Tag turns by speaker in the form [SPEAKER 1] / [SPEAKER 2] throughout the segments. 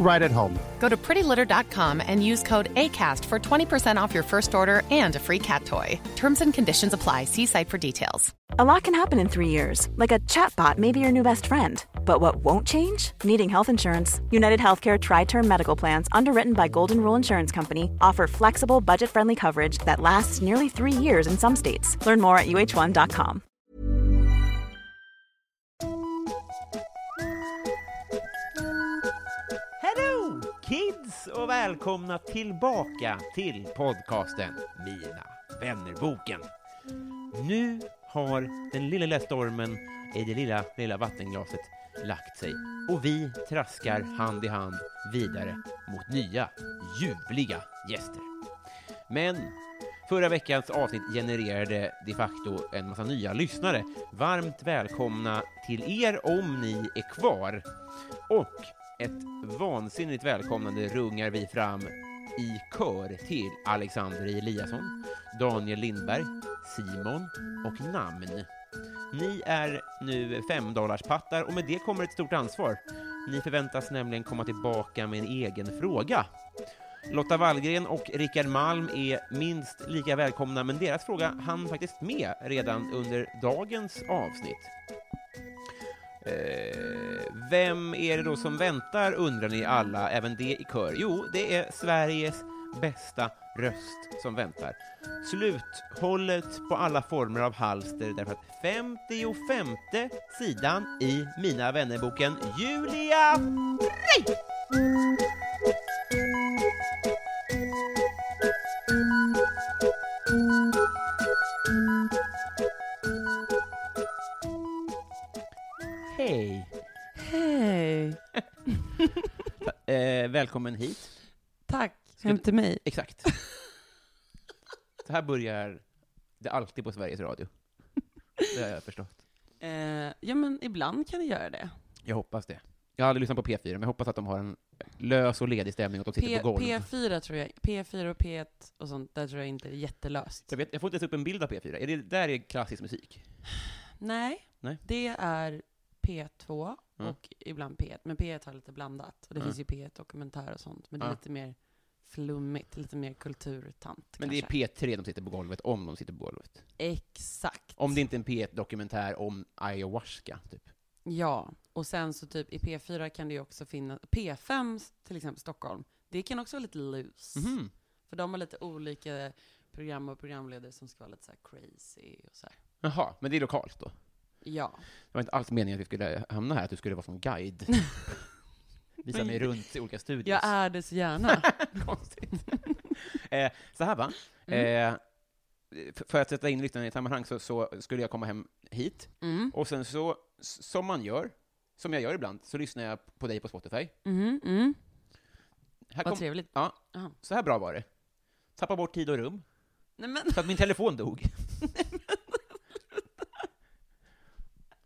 [SPEAKER 1] right at home.
[SPEAKER 2] Go to prettylitter.com and use code ACAST for 20% off your first order and a free cat toy. Terms and conditions apply. See site for details.
[SPEAKER 3] A lot can happen in three years, like a chatbot may be your new best friend. But what won't change? Needing health insurance. United Healthcare Tri Term Medical Plans, underwritten by Golden Rule Insurance Company, offer flexible, budget friendly coverage that lasts nearly three years in some states. Learn more at uh1.com.
[SPEAKER 4] Hello kids och välkomna tillbaka till podcasten Mina vännerboken. Nu har den lilla, lilla stormen i det lilla, lilla vattenglaset lagt sig och vi traskar hand i hand vidare mot nya ljuvliga gäster. Men förra veckans avsnitt genererade de facto en massa nya lyssnare. Varmt välkomna till er om ni är kvar. Och ett vansinnigt välkomnande rungar vi fram i kör till Alexander Eliasson, Daniel Lindberg, Simon och namn. Ni är nu femdollarspattar och med det kommer ett stort ansvar. Ni förväntas nämligen komma tillbaka med en egen fråga. Lotta Wallgren och Rickard Malm är minst lika välkomna, men deras fråga hann faktiskt med redan under dagens avsnitt. Eh, vem är det då som väntar, undrar ni alla, även det i kör? Jo, det är Sveriges bästa röst som väntar. Sluthållet på alla former av halster, därför att 55 sidan i Mina vännerboken Julia Frey! Hej!
[SPEAKER 5] Hej!
[SPEAKER 4] Eh, välkommen hit.
[SPEAKER 5] Tack!
[SPEAKER 4] Ska-
[SPEAKER 5] Hem till mig.
[SPEAKER 4] Exakt. Så här börjar det alltid på Sveriges Radio. Det har jag förstått.
[SPEAKER 5] Eh, ja, men ibland kan det göra det.
[SPEAKER 4] Jag hoppas det. Jag har aldrig lyssnat på P4, men jag hoppas att de har en lös och ledig stämning och att de sitter
[SPEAKER 5] P-
[SPEAKER 4] på golv.
[SPEAKER 5] P4 tror jag, P4 och P1 och sånt, där tror jag inte det är jättelöst.
[SPEAKER 4] jag, vet, jag får inte ens upp en bild av P4. Är det där är klassisk musik?
[SPEAKER 5] Nej,
[SPEAKER 4] Nej.
[SPEAKER 5] det är P2
[SPEAKER 4] Mm.
[SPEAKER 5] och ibland P1, men P1 har lite blandat. Och det
[SPEAKER 4] Mm.
[SPEAKER 5] finns ju P1 dokumentär och sånt, men det är
[SPEAKER 4] Ja.
[SPEAKER 5] lite mer flummigt, lite mer kulturtant
[SPEAKER 4] Men
[SPEAKER 5] kanske.
[SPEAKER 4] det är P3 de sitter på golvet, om de sitter på golvet.
[SPEAKER 5] Exakt.
[SPEAKER 4] Om det inte är en P1-dokumentär om ayahuasca, typ.
[SPEAKER 5] Ja, och sen så typ i P4 kan det ju också finnas, P5 till exempel Stockholm, det kan också vara lite loose.
[SPEAKER 4] Mhm.
[SPEAKER 5] För de har lite olika program och programledare som ska vara lite så här crazy och så här.
[SPEAKER 4] Jaha, men det är lokalt då?
[SPEAKER 5] Ja.
[SPEAKER 4] Det var inte alls meningen att vi skulle hamna här, att du skulle vara som guide. Visa
[SPEAKER 5] Men-
[SPEAKER 4] mig runt i olika studios.
[SPEAKER 5] Jag är det så gärna.
[SPEAKER 4] Konstigt. eh, så här va.
[SPEAKER 5] Mm.
[SPEAKER 4] Eh, f- för att sätta in lyssnarna i ett sammanhang så, så skulle jag komma hem hit,
[SPEAKER 5] Mm.
[SPEAKER 4] och sen så, s- som man gör, som jag gör ibland, så lyssnar jag på dig på Spotify.
[SPEAKER 5] Mm. Mm.
[SPEAKER 4] Här
[SPEAKER 5] Vad
[SPEAKER 4] kom,
[SPEAKER 5] trevligt.
[SPEAKER 4] Ja.
[SPEAKER 5] Jaha.
[SPEAKER 4] så här bra var det. Tappa bort tid och rum,
[SPEAKER 5] Nej men,
[SPEAKER 4] så att min telefon dog.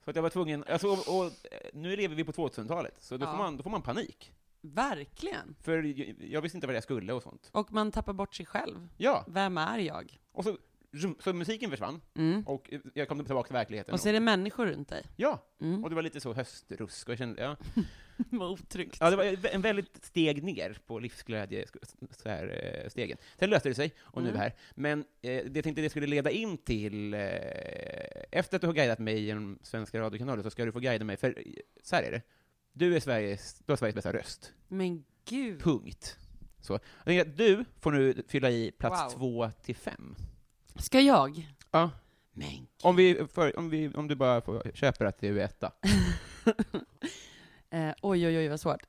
[SPEAKER 4] så att jag var tvungen, alltså, och, och, eh, nu lever vi på 2000-talet, så då,
[SPEAKER 5] Ja.
[SPEAKER 4] får man, då får man panik.
[SPEAKER 5] verkligen.
[SPEAKER 4] För jag, jag visste inte vad jag skulle och sånt.
[SPEAKER 5] Och man tappar bort sig själv.
[SPEAKER 4] Ja,
[SPEAKER 5] Vem är jag?
[SPEAKER 4] och så, så musiken försvann.
[SPEAKER 5] Mm.
[SPEAKER 4] Och eh, jag kom tillbaka till verkligheten.
[SPEAKER 5] Och så är det människor runt dig.
[SPEAKER 4] Ja,
[SPEAKER 5] Mm.
[SPEAKER 4] och det var lite så höstrusk. Och jag kände, ja.
[SPEAKER 5] Vad otryggt.
[SPEAKER 4] ja, det var en väldigt steg ner på livsglädje, så här, eh, stegen. Sen löste det sig, och nu är vi
[SPEAKER 5] Mm.
[SPEAKER 4] här. Men eh, det jag tänkte det skulle leda in till, eh, efter att du har guidat mig genom Svenska radiokanaler så ska du få guida mig, för eh, så här är det. Du är Sveriges, du har Sveriges bästa röst.
[SPEAKER 5] Men gud.
[SPEAKER 4] Punkt. Så. Jag tänker att du får nu fylla i plats
[SPEAKER 5] Wow.
[SPEAKER 4] två till fem.
[SPEAKER 5] Ska jag?
[SPEAKER 4] Ja.
[SPEAKER 5] Men
[SPEAKER 4] Om, vi, för, om, vi, om du bara får, köper att du är etta.
[SPEAKER 5] eh, oj, oj, oj vad svårt.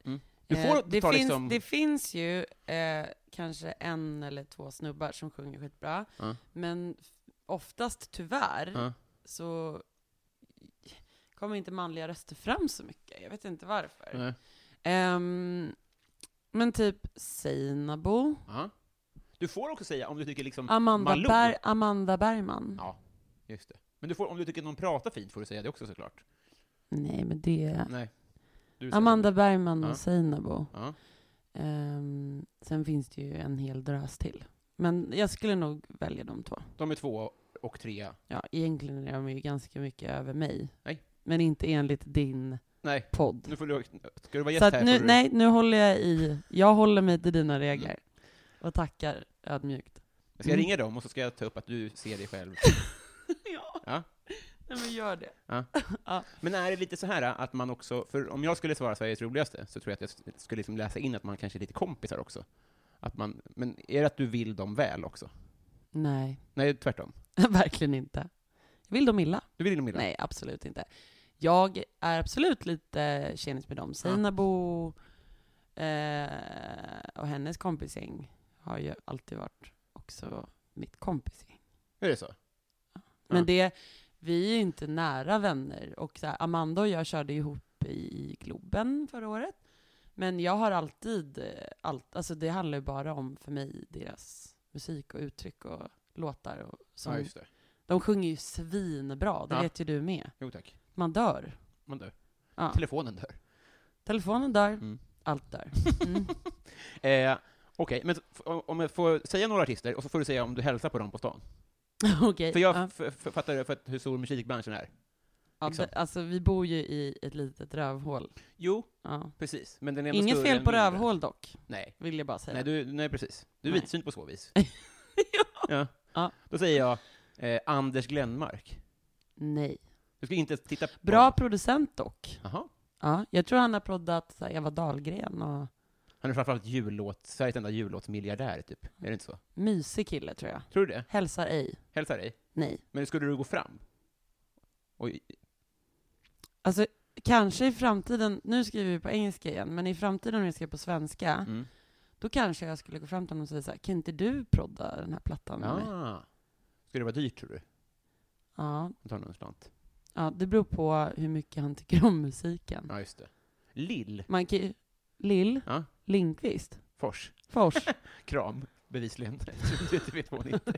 [SPEAKER 4] Du får
[SPEAKER 5] Eh, det,
[SPEAKER 4] ta
[SPEAKER 5] finns,
[SPEAKER 4] liksom...
[SPEAKER 5] det finns ju eh, kanske en eller två snubbar som sjunger skitbra,
[SPEAKER 4] Ja.
[SPEAKER 5] men f- oftast tyvärr
[SPEAKER 4] Ja.
[SPEAKER 5] så kommer inte manliga röster fram så mycket. Jag vet inte varför.
[SPEAKER 4] Nej.
[SPEAKER 5] Ehm, men typ Seinabo,
[SPEAKER 4] Ja. Du får också säga om du tycker liksom
[SPEAKER 5] Amanda,
[SPEAKER 4] Malou.
[SPEAKER 5] Ber- Amanda Bergman.
[SPEAKER 4] Ja, just det. Men du får, om du tycker någon pratar fint får du säga det också såklart.
[SPEAKER 5] Nej, men det...
[SPEAKER 4] Nej. Du säger
[SPEAKER 5] Amanda Bergman och
[SPEAKER 4] Ja.
[SPEAKER 5] Seinabo.
[SPEAKER 4] så. Ja.
[SPEAKER 5] Ehm, sen finns det ju en hel drös till. Men jag skulle nog välja de två.
[SPEAKER 4] De är två och trea.
[SPEAKER 5] Ja, egentligen är de ju ganska mycket över mig.
[SPEAKER 4] Nej.
[SPEAKER 5] Men inte enligt din
[SPEAKER 4] Nej,
[SPEAKER 5] podd.
[SPEAKER 4] nu får du... Ska du vara
[SPEAKER 5] Så
[SPEAKER 4] gäst
[SPEAKER 5] att
[SPEAKER 4] här
[SPEAKER 5] nu,
[SPEAKER 4] får du...
[SPEAKER 5] nej, nu håller jag i, jag håller mig till dina
[SPEAKER 4] Mm.
[SPEAKER 5] regler. Och tackar ödmjukt.
[SPEAKER 4] Jag ska
[SPEAKER 5] Mm.
[SPEAKER 4] ringa dem och så ska jag ta upp att du ser dig själv.
[SPEAKER 5] ja.
[SPEAKER 4] Ja.
[SPEAKER 5] Nej men gör det.
[SPEAKER 4] Men är det lite så här att man också, för om jag skulle svara Sveriges roligaste så tror jag att jag s- skulle liksom läsa in att man kanske är lite kompisar också. Att man, men är det att du vill dem väl också?
[SPEAKER 5] Nej,
[SPEAKER 4] Nej, tvärtom.
[SPEAKER 5] verkligen inte. Jag vill dem illa.
[SPEAKER 4] Du vill dem illa?
[SPEAKER 5] Nej, absolut inte. Jag är absolut lite tjenis med dem. Seinabo eh, och hennes kompisgäng har ju alltid varit också mitt kompisgäng.
[SPEAKER 4] Är det så?
[SPEAKER 5] Men
[SPEAKER 4] Ja.
[SPEAKER 5] det, vi är ju inte nära vänner. Och så här, Amanda och jag körde ihop i Globen förra året. Men jag har alltid, eh, allt, alltså det handlar ju bara om för mig deras musik och uttryck och låtar och
[SPEAKER 4] Ja,
[SPEAKER 5] sånt.
[SPEAKER 4] just det.
[SPEAKER 5] de sjunger ju svinbra, det
[SPEAKER 4] Ja.
[SPEAKER 5] vet ju du med.
[SPEAKER 4] Jo tack.
[SPEAKER 5] Man dör.
[SPEAKER 4] Man dör.
[SPEAKER 5] Ja.
[SPEAKER 4] Telefonen dör.
[SPEAKER 5] Telefonen dör,
[SPEAKER 4] Mm.
[SPEAKER 5] allt dör. Mm.
[SPEAKER 4] Eh, Okej, men f- om jag får säga några artister, och så får du säga om du hälsar på dem på stan.
[SPEAKER 5] Okej.
[SPEAKER 4] För jag
[SPEAKER 5] Eh, ja.
[SPEAKER 4] f- f- fattar för att hur stor musikbranschen är.
[SPEAKER 5] Ja,
[SPEAKER 4] liksom.
[SPEAKER 5] det- Alltså vi bor ju i ett litet rövhål.
[SPEAKER 4] Jo,
[SPEAKER 5] Ja.
[SPEAKER 4] precis. Men den är ändå
[SPEAKER 5] Inget
[SPEAKER 4] större
[SPEAKER 5] fel
[SPEAKER 4] än
[SPEAKER 5] på
[SPEAKER 4] mindre.
[SPEAKER 5] rövhål dock,
[SPEAKER 4] Nej,
[SPEAKER 5] vill jag bara säga.
[SPEAKER 4] nej, du, nej precis. Du är
[SPEAKER 5] Nej.
[SPEAKER 4] vidsynt på så vis.
[SPEAKER 5] ja.
[SPEAKER 4] Ja.
[SPEAKER 5] Ja.
[SPEAKER 4] Då säger jag eh, Anders Glenmark.
[SPEAKER 5] Nej.
[SPEAKER 4] Du ska inte ens titta på
[SPEAKER 5] Bra
[SPEAKER 4] honom.
[SPEAKER 5] producent dock.
[SPEAKER 4] Jaha.
[SPEAKER 5] Ja, jag tror han har proddat så här, Eva Dahlgren och
[SPEAKER 4] Han är framförallt jullåt, Sveriges enda jullåtsmiljardär, typ. Är det inte så?
[SPEAKER 5] mysig kille tror jag.
[SPEAKER 4] Tror du det?
[SPEAKER 5] Hälsar ej.
[SPEAKER 4] Hälsar dig.
[SPEAKER 5] Nej.
[SPEAKER 4] Men skulle du gå fram? Oj,
[SPEAKER 5] Alltså kanske i framtiden, nu skriver vi på engelska igen, men i framtiden om jag skriver på svenska,
[SPEAKER 4] mm.
[SPEAKER 5] då kanske jag skulle gå fram till honom och säga så här, kan inte du prodda den här plattan med mig?
[SPEAKER 4] Ah. Skulle det vara dyrt, tror du?
[SPEAKER 5] Ja,
[SPEAKER 4] Han tar någon slant.
[SPEAKER 5] Ja, det beror på hur mycket han tycker om musiken.
[SPEAKER 4] Ja, just det. Lill
[SPEAKER 5] Man kan ju... Lill
[SPEAKER 4] Ja.
[SPEAKER 5] Lindqvist
[SPEAKER 4] Fors.
[SPEAKER 5] Fors.
[SPEAKER 4] Kram, bevisligen. det vet hon inte.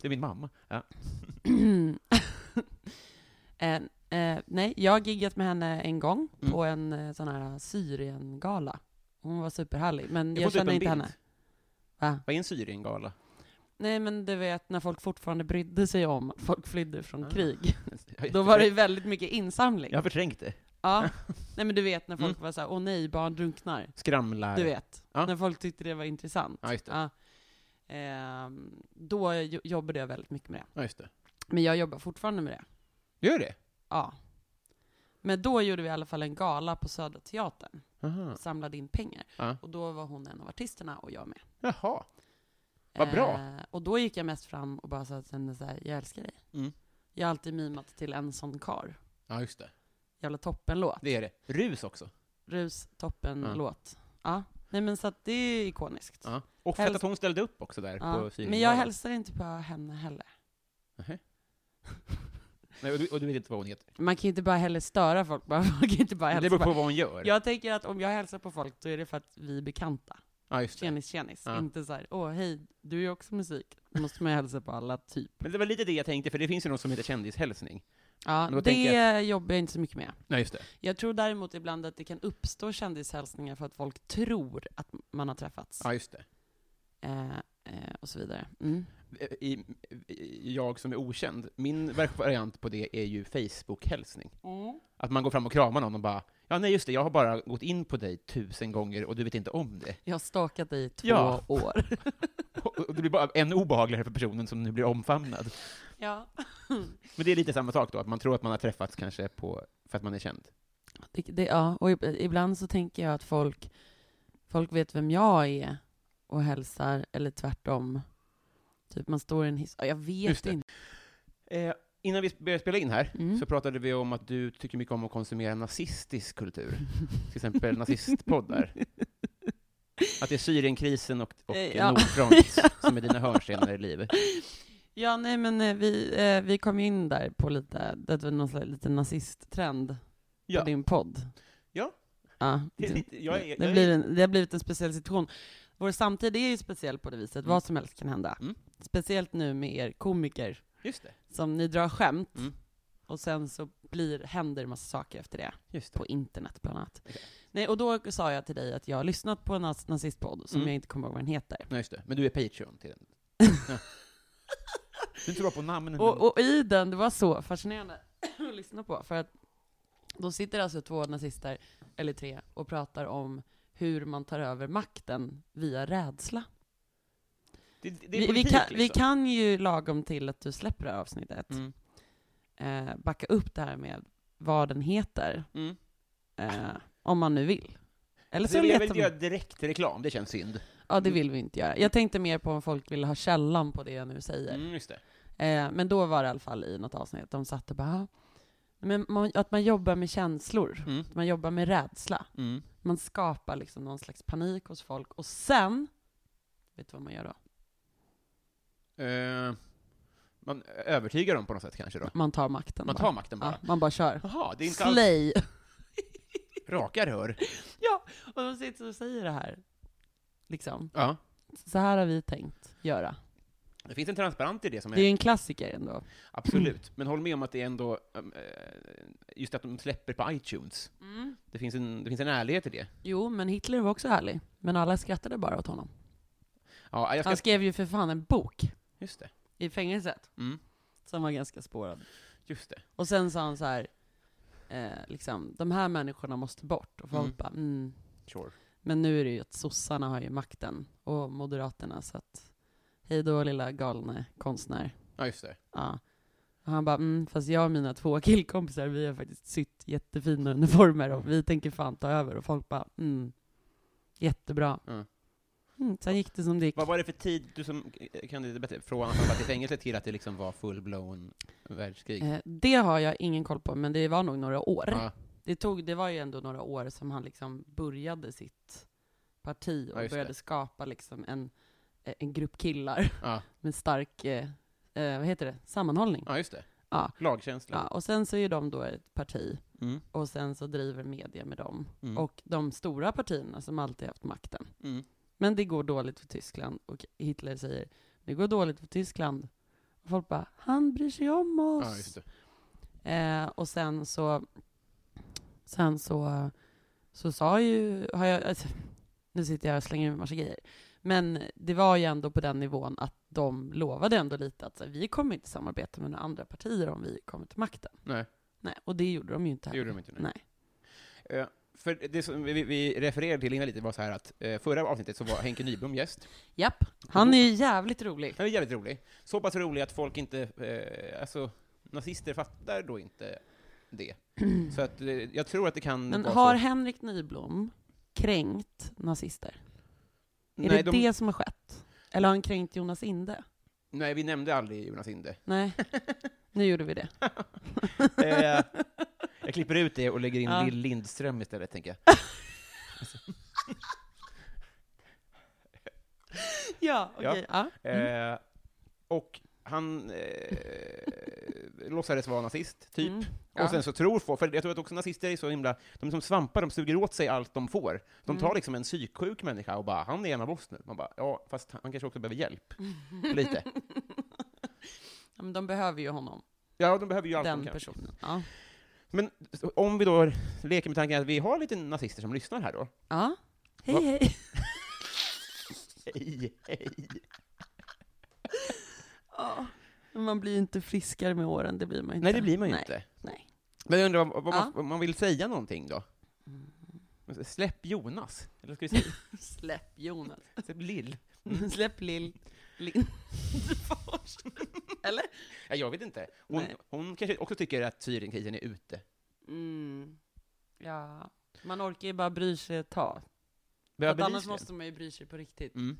[SPEAKER 4] det är min mamma. Ja.
[SPEAKER 5] eh, eh, nej, jag har giggat med henne en gång
[SPEAKER 4] Mm.
[SPEAKER 5] på en eh, sån här Syrien-gala. Hon var superhärlig, men jag,
[SPEAKER 4] får typ
[SPEAKER 5] känner
[SPEAKER 4] en
[SPEAKER 5] inte
[SPEAKER 4] bild.
[SPEAKER 5] henne. Va?
[SPEAKER 4] Vad är en Syriengala?
[SPEAKER 5] Nej, men du vet när folk fortfarande brydde sig om att folk flydde från
[SPEAKER 4] Ah.
[SPEAKER 5] krig.
[SPEAKER 4] Jag har
[SPEAKER 5] Då var det ju väldigt mycket insamling.
[SPEAKER 4] Jag har förträngt det.
[SPEAKER 5] Ja. Nej, men du vet när folk var så här, åh nej, barn drunknar.
[SPEAKER 4] Skramlar.
[SPEAKER 5] Du vet,
[SPEAKER 4] Mm. Ja.
[SPEAKER 5] när folk tyckte det var intressant.
[SPEAKER 4] Ja, just det.
[SPEAKER 5] Ja. Ehm, då jo- jobbade jag väldigt mycket med det.
[SPEAKER 4] Ja, just det.
[SPEAKER 5] Men jag jobbar fortfarande med det.
[SPEAKER 4] Gör det?
[SPEAKER 5] Ja. Men då gjorde vi i alla fall en gala på Södra Teatern.
[SPEAKER 4] Aha.
[SPEAKER 5] Och samlade in pengar.
[SPEAKER 4] Ja.
[SPEAKER 5] Och då var hon en av artisterna och jag med.
[SPEAKER 4] Jaha. Vad bra.
[SPEAKER 5] Eh, och då gick jag mest fram och bara sa till henne så här, jag älskar dig.
[SPEAKER 4] Mm.
[SPEAKER 5] Jag har alltid mimat till en sån kar.
[SPEAKER 4] Ja, just det.
[SPEAKER 5] Jävla toppenlåt.
[SPEAKER 4] Det är det. Rus också.
[SPEAKER 5] Rus, toppen,
[SPEAKER 4] Ja.
[SPEAKER 5] låt. Ja. Nej men så att det är ikoniskt.
[SPEAKER 4] Ja. Och fett
[SPEAKER 5] Häls-
[SPEAKER 4] att hon ställde upp också där
[SPEAKER 5] Ja.
[SPEAKER 4] på Syriengalan.
[SPEAKER 5] Men jag hälsar inte på henne heller.
[SPEAKER 4] Nej, och, du, och du vet inte vad hon heter.
[SPEAKER 5] Man kan ju inte bara heller störa folk. Man kan ju inte bara
[SPEAKER 4] Det
[SPEAKER 5] hälsa
[SPEAKER 4] beror
[SPEAKER 5] på-
[SPEAKER 4] på vad hon gör.
[SPEAKER 5] Jag tänker att om jag hälsar på folk, då är det för att vi är bekanta.
[SPEAKER 4] Ja, just det.
[SPEAKER 5] Tjenis, tjenis.
[SPEAKER 4] Ja.
[SPEAKER 5] Inte så här, åh hej, du är ju också musik. Då måste man ju hälsa på alla, typ.
[SPEAKER 4] Men det var lite det jag tänkte, för det finns ju någon som heter kändishälsning.
[SPEAKER 5] Ja,
[SPEAKER 4] Men då
[SPEAKER 5] det
[SPEAKER 4] tänker
[SPEAKER 5] jobbar jag inte så mycket med.
[SPEAKER 4] Nej, just det.
[SPEAKER 5] Jag tror däremot ibland att det kan uppstå kändishälsningar för att folk tror att man har träffats.
[SPEAKER 4] Ja, just det.
[SPEAKER 5] Eh, eh, och så vidare. Mm.
[SPEAKER 4] eh, I, i, jag som är okänd, min variant på det är ju Facebook-hälsning.
[SPEAKER 5] Mm.
[SPEAKER 4] Att man går fram och kramar någon och bara Ja, nej just det, jag har bara gått in på dig tusen gånger och du vet inte om det.
[SPEAKER 5] Jag har stakat dig i två
[SPEAKER 4] Ja.
[SPEAKER 5] år.
[SPEAKER 4] Och och det blir bara ännu obehagligare för personen som nu blir omfamnad.
[SPEAKER 5] ja.
[SPEAKER 4] Men det är lite samma sak då, att man tror att man har träffats kanske på, för att man är känd.
[SPEAKER 5] Det, det, ja, och ib- ibland så tänker jag att folk, folk vet vem jag är och hälsar, eller tvärtom. Typ man står i en hiss. Ja, Jag
[SPEAKER 4] Just
[SPEAKER 5] vet
[SPEAKER 4] det.
[SPEAKER 5] inte.
[SPEAKER 4] Eh, innan vi började spela in här
[SPEAKER 5] Mm.
[SPEAKER 4] så pratade vi om att du tycker mycket om att konsumera nazistisk kultur. Till exempel nazistpoddar. Att det är Syrienkrisen och, och
[SPEAKER 5] Eh, ja.
[SPEAKER 4] Nordfront som är dina hörnstenar i livet.
[SPEAKER 5] Ja, nej men eh, vi, eh, vi kom ju in där på lite, det var någon slags lite nazisttrend
[SPEAKER 4] Ja.
[SPEAKER 5] på din podd.
[SPEAKER 4] Ja.
[SPEAKER 5] ja
[SPEAKER 4] Det är
[SPEAKER 5] det,
[SPEAKER 4] lite- jag är- jag
[SPEAKER 5] det,
[SPEAKER 4] är-
[SPEAKER 5] Mm. blir en, det har blivit en speciell situation. Vår samtid är ju speciell på det viset,
[SPEAKER 4] Mm.
[SPEAKER 5] vad som helst kan hända.
[SPEAKER 4] Mm.
[SPEAKER 5] Speciellt nu med er komiker.
[SPEAKER 4] Just det.
[SPEAKER 5] som ni drar skämt,
[SPEAKER 4] Mm.
[SPEAKER 5] och sen så blir, händer en massa saker efter det,
[SPEAKER 4] Just det.
[SPEAKER 5] på internet bland annat.
[SPEAKER 4] Okej.
[SPEAKER 5] Nej, och då sa jag till dig att jag har lyssnat på en naz- nazistpodd, som
[SPEAKER 4] Mm.
[SPEAKER 5] jag inte kommer ihåg vad den heter.
[SPEAKER 4] Nej, just det. Men du är Patreon till den. Ja. Du är inte bra på namnen. men-
[SPEAKER 5] Och, och i den, det var så fascinerande att lyssna på, för att då sitter alltså två nazister, eller tre, och pratar om hur man tar över makten via rädsla.
[SPEAKER 4] det, det är
[SPEAKER 5] vi, vi,
[SPEAKER 4] politik,
[SPEAKER 5] kan,
[SPEAKER 4] liksom.
[SPEAKER 5] vi kan ju lagom till att du släpper det här avsnittet,
[SPEAKER 4] Mm.
[SPEAKER 5] eh, backa upp det här med vad den heter,
[SPEAKER 4] Mm.
[SPEAKER 5] eh, om man nu vill. Eller
[SPEAKER 4] Så
[SPEAKER 5] så
[SPEAKER 4] jag Alltså, vill
[SPEAKER 5] letar
[SPEAKER 4] inte
[SPEAKER 5] man...
[SPEAKER 4] göra Mm. direkt reklam, det känns synd.
[SPEAKER 5] Ja, det vill vi inte göra. Jag tänkte mer på om folk ville ha källan på det jag nu säger.
[SPEAKER 4] Mm, just det.
[SPEAKER 5] Eh, men då var det i alla fall i något avsnitt, de satt och bara, "Ah, men man, att man jobbar med känslor,
[SPEAKER 4] Mm.
[SPEAKER 5] att man jobbar med rädsla.
[SPEAKER 4] Mm.
[SPEAKER 5] Man skapar liksom någon slags panik hos folk, och sen, vet du vad man gör då?
[SPEAKER 4] Eh, man övertygar dem på något sätt kanske då.
[SPEAKER 5] Man tar makten
[SPEAKER 4] Man
[SPEAKER 5] bara.
[SPEAKER 4] tar makten bara.
[SPEAKER 5] Ja, man bara kör.
[SPEAKER 4] Jaha, det är inte alls
[SPEAKER 5] Slay!
[SPEAKER 4] raka rör.
[SPEAKER 5] Och de sitter och säger det här. Liksom.
[SPEAKER 4] Ja.
[SPEAKER 5] Så här har vi tänkt göra.
[SPEAKER 4] Det finns en transparent i det som är...
[SPEAKER 5] Det är ju en klassiker ändå.
[SPEAKER 4] Absolut. Men håll med om att det är ändå... ehm, eh, Just att de släpper på iTunes.
[SPEAKER 5] Mm.
[SPEAKER 4] Det, finns en, det finns en ärlighet i det.
[SPEAKER 5] Jo, men Hitler var också härlig. Men alla skrattade bara åt honom.
[SPEAKER 4] Ja, jag ska...
[SPEAKER 5] Han skrev ju för fan en bok
[SPEAKER 4] Just det.
[SPEAKER 5] i fängelset.
[SPEAKER 4] Mm.
[SPEAKER 5] Som var ganska spårad.
[SPEAKER 4] Just det.
[SPEAKER 5] Och sen sa han så här, eh, liksom, de här människorna måste bort. Och folk
[SPEAKER 4] Mm.
[SPEAKER 5] bara, mm.
[SPEAKER 4] Sure.
[SPEAKER 5] Men nu är det ju att sossarna har ju makten. Och moderaterna, så att hej då lilla galne konstnär.
[SPEAKER 4] Ja, just det.
[SPEAKER 5] Ja. Och han bara, mm, fast jag och mina två killkompisar, vi har faktiskt sytt jättefina uniformer och vi tänker fan ta över. Och folk bara, mm, jättebra.
[SPEAKER 4] Mm.
[SPEAKER 5] Mm, sen gick det som det gick.
[SPEAKER 4] Vad var det för tid, du som eh, kan det bättre, från att han satt i fängelse till att det liksom var full-blown världskrig?
[SPEAKER 5] Eh, det har jag ingen koll på, men det var nog några år.
[SPEAKER 4] Ja,
[SPEAKER 5] Det, tog, det var ju ändå några år som han liksom började sitt parti och
[SPEAKER 4] Ja, just
[SPEAKER 5] började
[SPEAKER 4] det.
[SPEAKER 5] skapa liksom en, eh, en grupp killar
[SPEAKER 4] ja,
[SPEAKER 5] med stark, eh, eh, vad heter det, sammanhållning.
[SPEAKER 4] ja just det.
[SPEAKER 5] Ja.
[SPEAKER 4] Lagkänsla.
[SPEAKER 5] Ja, och sen så är de då ett parti,
[SPEAKER 4] Mm,
[SPEAKER 5] och sen så driver media med dem.
[SPEAKER 4] mm,
[SPEAKER 5] och de stora partierna som alltid haft makten.
[SPEAKER 4] mm.
[SPEAKER 5] Men det går dåligt för Tyskland och Hitler säger det går dåligt för Tyskland. Och folk bara, han bryr sig om
[SPEAKER 4] Ja, just
[SPEAKER 5] oss.
[SPEAKER 4] det.
[SPEAKER 5] eh, och sen så, sen så, så sa ju, har jag, alltså, nu sitter jag och slänger ur massa grejer. Men det var ju ändå på den nivån att de lovade ändå lite att så här, vi kommer inte samarbeta med några andra partier om vi kommer till makten.
[SPEAKER 4] Nej.
[SPEAKER 5] Nej, och det gjorde de ju inte.
[SPEAKER 4] Det gjorde de inte.
[SPEAKER 5] Nej.
[SPEAKER 4] Eh, För det som vi, vi refererade till innan lite var så här att eh, förra avsnittet så var Henke Nyblom gäst.
[SPEAKER 5] Japp, han är ju jävligt rolig.
[SPEAKER 4] Han är jävligt rolig. Så pass rolig att folk inte, eh, alltså nazister fattar då inte det. Så att eh, jag tror att det kan
[SPEAKER 5] Men
[SPEAKER 4] vara
[SPEAKER 5] har
[SPEAKER 4] så.
[SPEAKER 5] Henrik Nyblom kränkt nazister? Är
[SPEAKER 4] nej,
[SPEAKER 5] det
[SPEAKER 4] de,
[SPEAKER 5] det som har skett? Eller har han kränkt Jonas Inde?
[SPEAKER 4] nej, vi nämnde aldrig Jonas Inde.
[SPEAKER 5] Nej, nu gjorde vi det.
[SPEAKER 4] Eh, jag klipper ut det och lägger in
[SPEAKER 5] Ja.
[SPEAKER 4] Lill Lindström istället, tänker jag.
[SPEAKER 5] Ja,
[SPEAKER 4] Ja. okej,
[SPEAKER 5] Ja. Mm.
[SPEAKER 4] Eh, och han eh, låtsades vara nazist, typ.
[SPEAKER 5] Mm.
[SPEAKER 4] Och sen så tror folk, för jag tror att också nazister är så himla, de är som svampar, de suger åt sig allt de får. De
[SPEAKER 5] Mm.
[SPEAKER 4] tar liksom en psyksjuk människa och bara, han är en av oss nu. Man bara, ja, fast han kanske också behöver hjälp. Lite.
[SPEAKER 5] ja, men de behöver ju honom,
[SPEAKER 4] Ja, de behöver ju allt de
[SPEAKER 5] den
[SPEAKER 4] kan.
[SPEAKER 5] personen. Ja.
[SPEAKER 4] Men så om vi då leker med tanken att vi har lite nazister som lyssnar här då.
[SPEAKER 5] ja.
[SPEAKER 4] Va-
[SPEAKER 5] Hej, hej.
[SPEAKER 4] Hej, hej.
[SPEAKER 5] Ja. Men Man blir ju inte friskare med åren, det blir man ju inte.
[SPEAKER 4] Nej, det blir man ju
[SPEAKER 5] Nej.
[SPEAKER 4] inte.
[SPEAKER 5] Nej.
[SPEAKER 4] Men jag undrar vad, vad
[SPEAKER 5] Ja.
[SPEAKER 4] man, om man vill säga någonting då?
[SPEAKER 5] Mm.
[SPEAKER 4] Släpp Jonas. Eller ska vi säga
[SPEAKER 5] Släpp Jonas.
[SPEAKER 4] släpp Lill?
[SPEAKER 5] Släpp Lill. Lindfors. Eller?
[SPEAKER 4] Ja, jag vet inte. Hon,
[SPEAKER 5] Nej.
[SPEAKER 4] hon kanske också tycker att Syrienkrisen är ute.
[SPEAKER 5] Mm. Ja. Man orkar ju bara bry sig ett tag.
[SPEAKER 4] Behöver
[SPEAKER 5] För att annars
[SPEAKER 4] bevisligen.
[SPEAKER 5] måste man ju bry sig på riktigt.
[SPEAKER 4] Mm.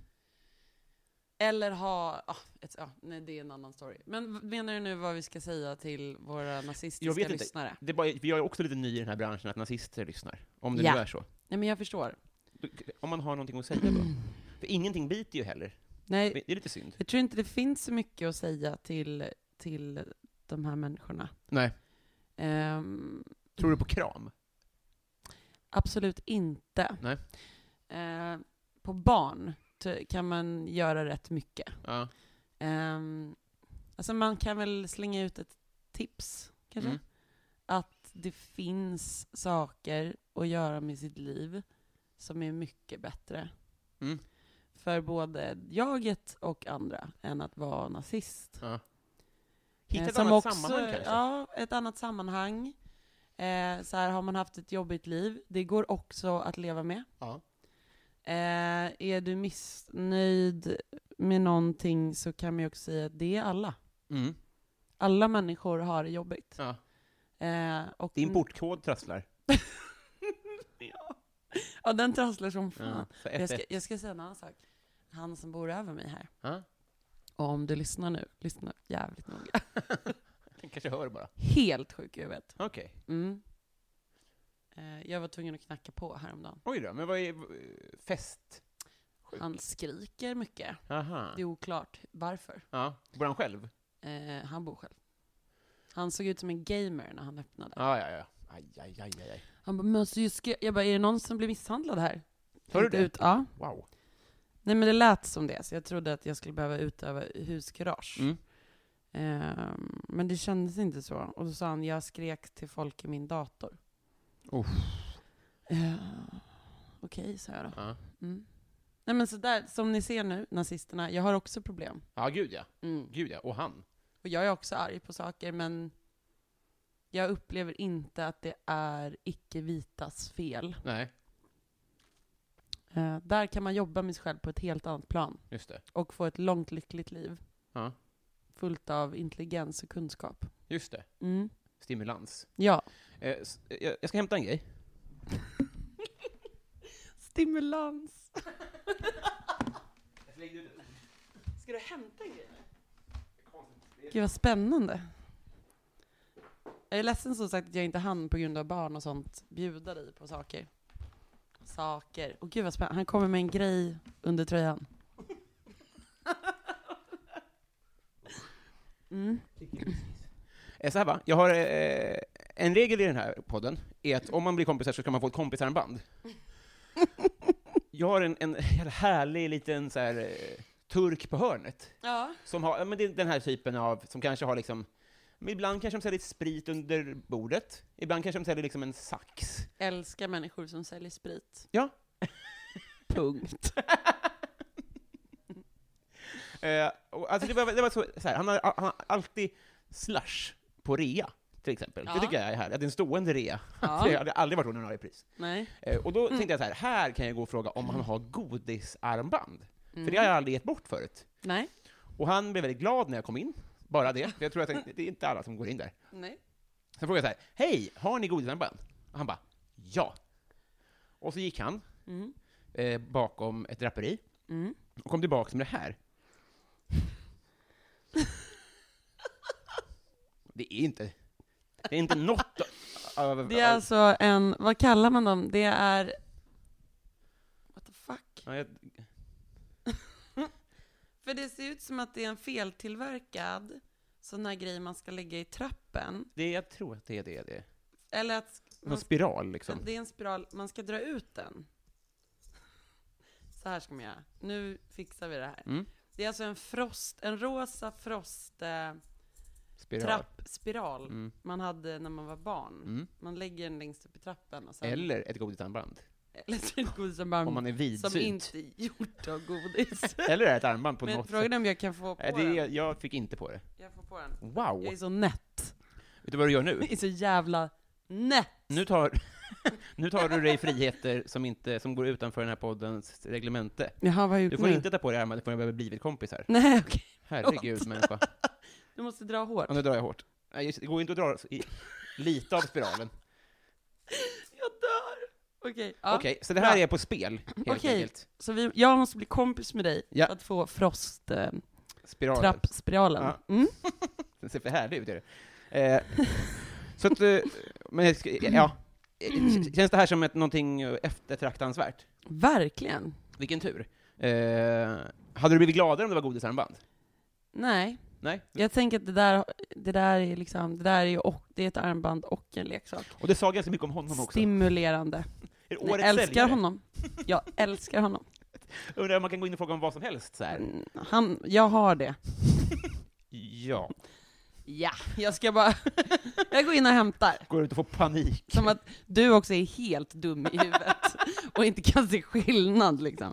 [SPEAKER 5] Eller ha, ah, ett, ah, nej det är en annan story. Men v- menar du nu vad vi ska säga till våra
[SPEAKER 4] Jag vet
[SPEAKER 5] nazistiska
[SPEAKER 4] inte.
[SPEAKER 5] lyssnare?
[SPEAKER 4] Det är bara, jag är också lite ny i den här branschen, att nazister lyssnar. Om det
[SPEAKER 5] Ja.
[SPEAKER 4] nu är så.
[SPEAKER 5] Nej men jag förstår.
[SPEAKER 4] Om man har någonting att säga då. För ingenting biter ju heller.
[SPEAKER 5] Nej,
[SPEAKER 4] Det är lite synd.
[SPEAKER 5] jag tror inte det finns så mycket att säga till, till de här människorna.
[SPEAKER 4] Nej.
[SPEAKER 5] Ehm,
[SPEAKER 4] Tror du på kram?
[SPEAKER 5] absolut inte.
[SPEAKER 4] Nej.
[SPEAKER 5] Ehm, Eh, på barn t- kan man göra rätt mycket.
[SPEAKER 4] Ja.
[SPEAKER 5] Ehm, Alltså man kan väl slänga ut ett tips, kanske?
[SPEAKER 4] Mm.
[SPEAKER 5] Att det finns saker att göra med sitt liv som är mycket bättre.
[SPEAKER 4] Mm.
[SPEAKER 5] För både jaget och andra, än att vara nazist.
[SPEAKER 4] Ja. Hitta
[SPEAKER 5] Eh,
[SPEAKER 4] ett
[SPEAKER 5] som
[SPEAKER 4] annat
[SPEAKER 5] också-
[SPEAKER 4] sammanhang kanske?
[SPEAKER 5] Ja, ett annat sammanhang. Eh, så här, har man haft ett jobbigt liv, det går också att leva med.
[SPEAKER 4] Ja.
[SPEAKER 5] Eh, är du missnöjd med någonting så kan man ju också säga att det är alla.
[SPEAKER 4] Mm.
[SPEAKER 5] Alla människor har det jobbigt.
[SPEAKER 4] Ja.
[SPEAKER 5] Eh, och
[SPEAKER 4] Din portkod trasslar.
[SPEAKER 5] Ja, den trasslar som fan.
[SPEAKER 4] Ja. Så
[SPEAKER 5] Jag,
[SPEAKER 4] ett,
[SPEAKER 5] ska,
[SPEAKER 4] ett.
[SPEAKER 5] jag ska säga en annan sak. Han som bor över mig här.
[SPEAKER 4] Ja.
[SPEAKER 5] Och om du lyssnar nu, lyssna jävligt noga.
[SPEAKER 4] Den kanske hör bara.
[SPEAKER 5] Helt sjuk i huvudet.
[SPEAKER 4] Okej.
[SPEAKER 5] Mm. Eh, jag var tvungen att knacka på häromdagen.
[SPEAKER 4] Oj då, men vad är fest? Sjuk.
[SPEAKER 5] Han skriker mycket.
[SPEAKER 4] Aha.
[SPEAKER 5] Det är oklart varför.
[SPEAKER 4] Ja. Bor han själv?
[SPEAKER 5] Eh, han bor själv. Han såg ut som en gamer när han öppnade.
[SPEAKER 4] Ja, ja, ja. Aj, aj, aj, aj, aj.
[SPEAKER 5] Han bara, men alltså, jag, ska... jag bara, är det någon som blir misshandlad här?
[SPEAKER 4] Hör du
[SPEAKER 5] Tänkte
[SPEAKER 4] det?
[SPEAKER 5] Ut, ja.
[SPEAKER 4] Wow.
[SPEAKER 5] Nej men det lät som det, så jag trodde att jag skulle behöva utöva huskurage.
[SPEAKER 4] Mm.
[SPEAKER 5] Ehm, men det kändes inte så. Och då sa han, jag skrek till folk i min dator.
[SPEAKER 4] Uff.
[SPEAKER 5] Ehm, Okej, sa jag då.
[SPEAKER 4] Ja.
[SPEAKER 5] Mm. Nej men så där, som ni ser nu, nazisterna, jag har också problem.
[SPEAKER 4] ja, gud ja.
[SPEAKER 5] Mm.
[SPEAKER 4] Gud ja. Och han.
[SPEAKER 5] Och jag är också arg på saker, men jag upplever inte att det är icke-vitas fel.
[SPEAKER 4] Nej,
[SPEAKER 5] Eh, där kan man jobba med sig själv på ett helt annat plan
[SPEAKER 4] just det.
[SPEAKER 5] och få ett långt lyckligt liv.
[SPEAKER 4] Ja.
[SPEAKER 5] Fullt av intelligens och kunskap.
[SPEAKER 4] Just det.
[SPEAKER 5] Mm.
[SPEAKER 4] Stimulans.
[SPEAKER 5] Ja.
[SPEAKER 4] Eh, s- jag jag ska hämta en grej.
[SPEAKER 5] Stimulans. Ska du hämta en grej? Gud vad spännande. Jag är ledsen som sagt att jag inte hann på grund av barn och sånt bjuda dig på saker. Saker. Och gud vad spännande. Han kommer med en grej under tröjan. Mm.
[SPEAKER 4] Eh, Så här va, jag har eh, en regel i den här podden, är att om man blir kompisar så ska man få ett kompisarmband. Jag har en, en jävla härlig liten så här, eh, turk på hörnet,
[SPEAKER 5] Ja.
[SPEAKER 4] som har, ja, men det är den här typen av, som kanske har liksom, men ibland kanske de säljer sprit under bordet, ibland kanske de säljer liksom en sax.
[SPEAKER 5] Älskar människor som säljer sprit.
[SPEAKER 4] Ja.
[SPEAKER 5] Punkt.
[SPEAKER 4] Eh, och, alltså det var, det var så, så här, han, har, han har alltid slush på rea, till exempel.
[SPEAKER 5] Ja.
[SPEAKER 4] Det tycker jag är härligt, att det är en stående rea.
[SPEAKER 5] Ja. Mm.
[SPEAKER 4] Det hade aldrig varit ordinarie pris.
[SPEAKER 5] Nej.
[SPEAKER 4] Eh, Och då tänkte jag så här, här kan jag gå och fråga om han har godisarmband. För
[SPEAKER 5] Mm.
[SPEAKER 4] det har jag aldrig gett bort förut.
[SPEAKER 5] Nej.
[SPEAKER 4] Och han blev väldigt glad när jag kom in, bara det. För jag tror att det det är inte alla som går in där.
[SPEAKER 5] Nej.
[SPEAKER 4] Sen frågade jag så här, hej, har ni godisarmband? Och han bara, ja. Och så gick han
[SPEAKER 5] Mm.
[SPEAKER 4] eh, bakom ett draperi
[SPEAKER 5] Mm.
[SPEAKER 4] och kom tillbaka med det här. Det är inte, det är inte något av...
[SPEAKER 5] Det är alltså en, vad kallar man dem? Det är... What the fuck?
[SPEAKER 4] Ja, jag-
[SPEAKER 5] För det ser ut som att det är en feltillverkad sån här grej man ska lägga i trappen.
[SPEAKER 4] det, jag tror att det är det. det. är.
[SPEAKER 5] Eller att
[SPEAKER 4] Någon
[SPEAKER 5] man,
[SPEAKER 4] spiral liksom.
[SPEAKER 5] Mm. det är en spiral, man ska dra ut den. Så här ska man göra. Nu fixar vi det här.
[SPEAKER 4] Mm.
[SPEAKER 5] Det är alltså en frost, en rosa frost eh,
[SPEAKER 4] Spiral.
[SPEAKER 5] trappspiral
[SPEAKER 4] Mm.
[SPEAKER 5] man hade när man var barn.
[SPEAKER 4] Mm.
[SPEAKER 5] Man lägger den längst upp i trappen och sen...
[SPEAKER 4] Eller ett godisarmband.
[SPEAKER 5] Eller så är det godis som bara-
[SPEAKER 4] Om man är
[SPEAKER 5] Mm, Som
[SPEAKER 4] vidsynt.
[SPEAKER 5] inte är gjort av godis.
[SPEAKER 4] Eller är ett armband på
[SPEAKER 5] Men
[SPEAKER 4] något
[SPEAKER 5] frågan
[SPEAKER 4] sätt.
[SPEAKER 5] är om jag kan få på
[SPEAKER 4] Nej, det,
[SPEAKER 5] den.
[SPEAKER 4] är- jag fick inte på det.
[SPEAKER 5] Jag får på den.
[SPEAKER 4] Wow!
[SPEAKER 5] Jag är så nätt.
[SPEAKER 4] Vet du vad du gör nu?
[SPEAKER 5] Jag är så jävla nätt.
[SPEAKER 4] Nu tar, nu tar du dig friheter som, inte, som går utanför den här poddens reglemente.
[SPEAKER 5] Jaha, vad har jag
[SPEAKER 4] Du
[SPEAKER 5] gjort
[SPEAKER 4] får
[SPEAKER 5] nu?
[SPEAKER 4] inte ta på dig armbandet förrän vi har blivit kompisar.
[SPEAKER 5] Nej, okej.
[SPEAKER 4] Herregud människa.
[SPEAKER 5] Du måste dra hårt.
[SPEAKER 4] Ja, nu drar jag hårt. Nej, just, det det går ju inte att dra i, lite av spiralen.
[SPEAKER 5] Jag dör! Okej, ja.
[SPEAKER 4] Okej, så det här
[SPEAKER 5] Bra.
[SPEAKER 4] är på spel, helt
[SPEAKER 5] Okej.
[SPEAKER 4] enkelt.
[SPEAKER 5] Så vi, jag måste bli kompis med dig
[SPEAKER 4] Ja.
[SPEAKER 5] för att få frost, eh,
[SPEAKER 4] Spiralen.
[SPEAKER 5] trappspiralen.
[SPEAKER 4] Ja.
[SPEAKER 5] Mm?
[SPEAKER 4] Den ser för härlig ut, gör det. Eh, så att, eh, men jag ska- ja. Eh, Känns det här som ett, någonting eftertraktansvärt?
[SPEAKER 5] Verkligen.
[SPEAKER 4] Vilken tur. Eh, hade du blivit gladare om det var godisarmband?
[SPEAKER 5] Nej.
[SPEAKER 4] Nej.
[SPEAKER 5] Jag tänker att det där, det där är liksom, det där är ju och, det är ett armband och en leksak.
[SPEAKER 4] Och det sa ganska mycket om honom också.
[SPEAKER 5] Stimulerande.
[SPEAKER 4] Är det
[SPEAKER 5] Jag
[SPEAKER 4] årets
[SPEAKER 5] älskar
[SPEAKER 4] säljare?
[SPEAKER 5] honom. Jag älskar honom.
[SPEAKER 4] Undrar om man kan gå in och fråga om vad som helst så här.
[SPEAKER 5] Mm, Han, jag har det.
[SPEAKER 4] Ja.
[SPEAKER 5] Ja, jag ska bara... jag går in och hämtar.
[SPEAKER 4] Går ut och får panik.
[SPEAKER 5] Som att du också är helt dum i huvudet och inte kan se skillnad liksom.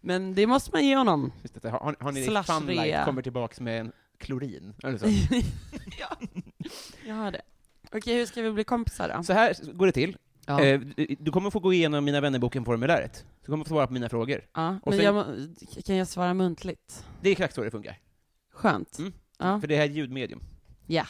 [SPEAKER 5] Men det måste man ge honom.
[SPEAKER 4] Just det, har, har, har ni
[SPEAKER 5] Slash
[SPEAKER 4] Funlight
[SPEAKER 5] rea.
[SPEAKER 4] kommer tillbaks med en klorin? Eller så.
[SPEAKER 5] ja, jag har det. Okej, hur ska vi bli kompisar då?
[SPEAKER 4] så här går det till.
[SPEAKER 5] Ja.
[SPEAKER 4] Eh, du- Du kommer få gå igenom Mina vännerboken-formuläret. Du kommer få svara på mina frågor.
[SPEAKER 5] ja.
[SPEAKER 4] och
[SPEAKER 5] Men
[SPEAKER 4] sen-
[SPEAKER 5] jag, må- kan jag svara muntligt?
[SPEAKER 4] Det är exakt så det funkar.
[SPEAKER 5] Skönt.
[SPEAKER 4] Mm.
[SPEAKER 5] Ja.
[SPEAKER 4] För det här är ljudmedium.
[SPEAKER 5] Ja.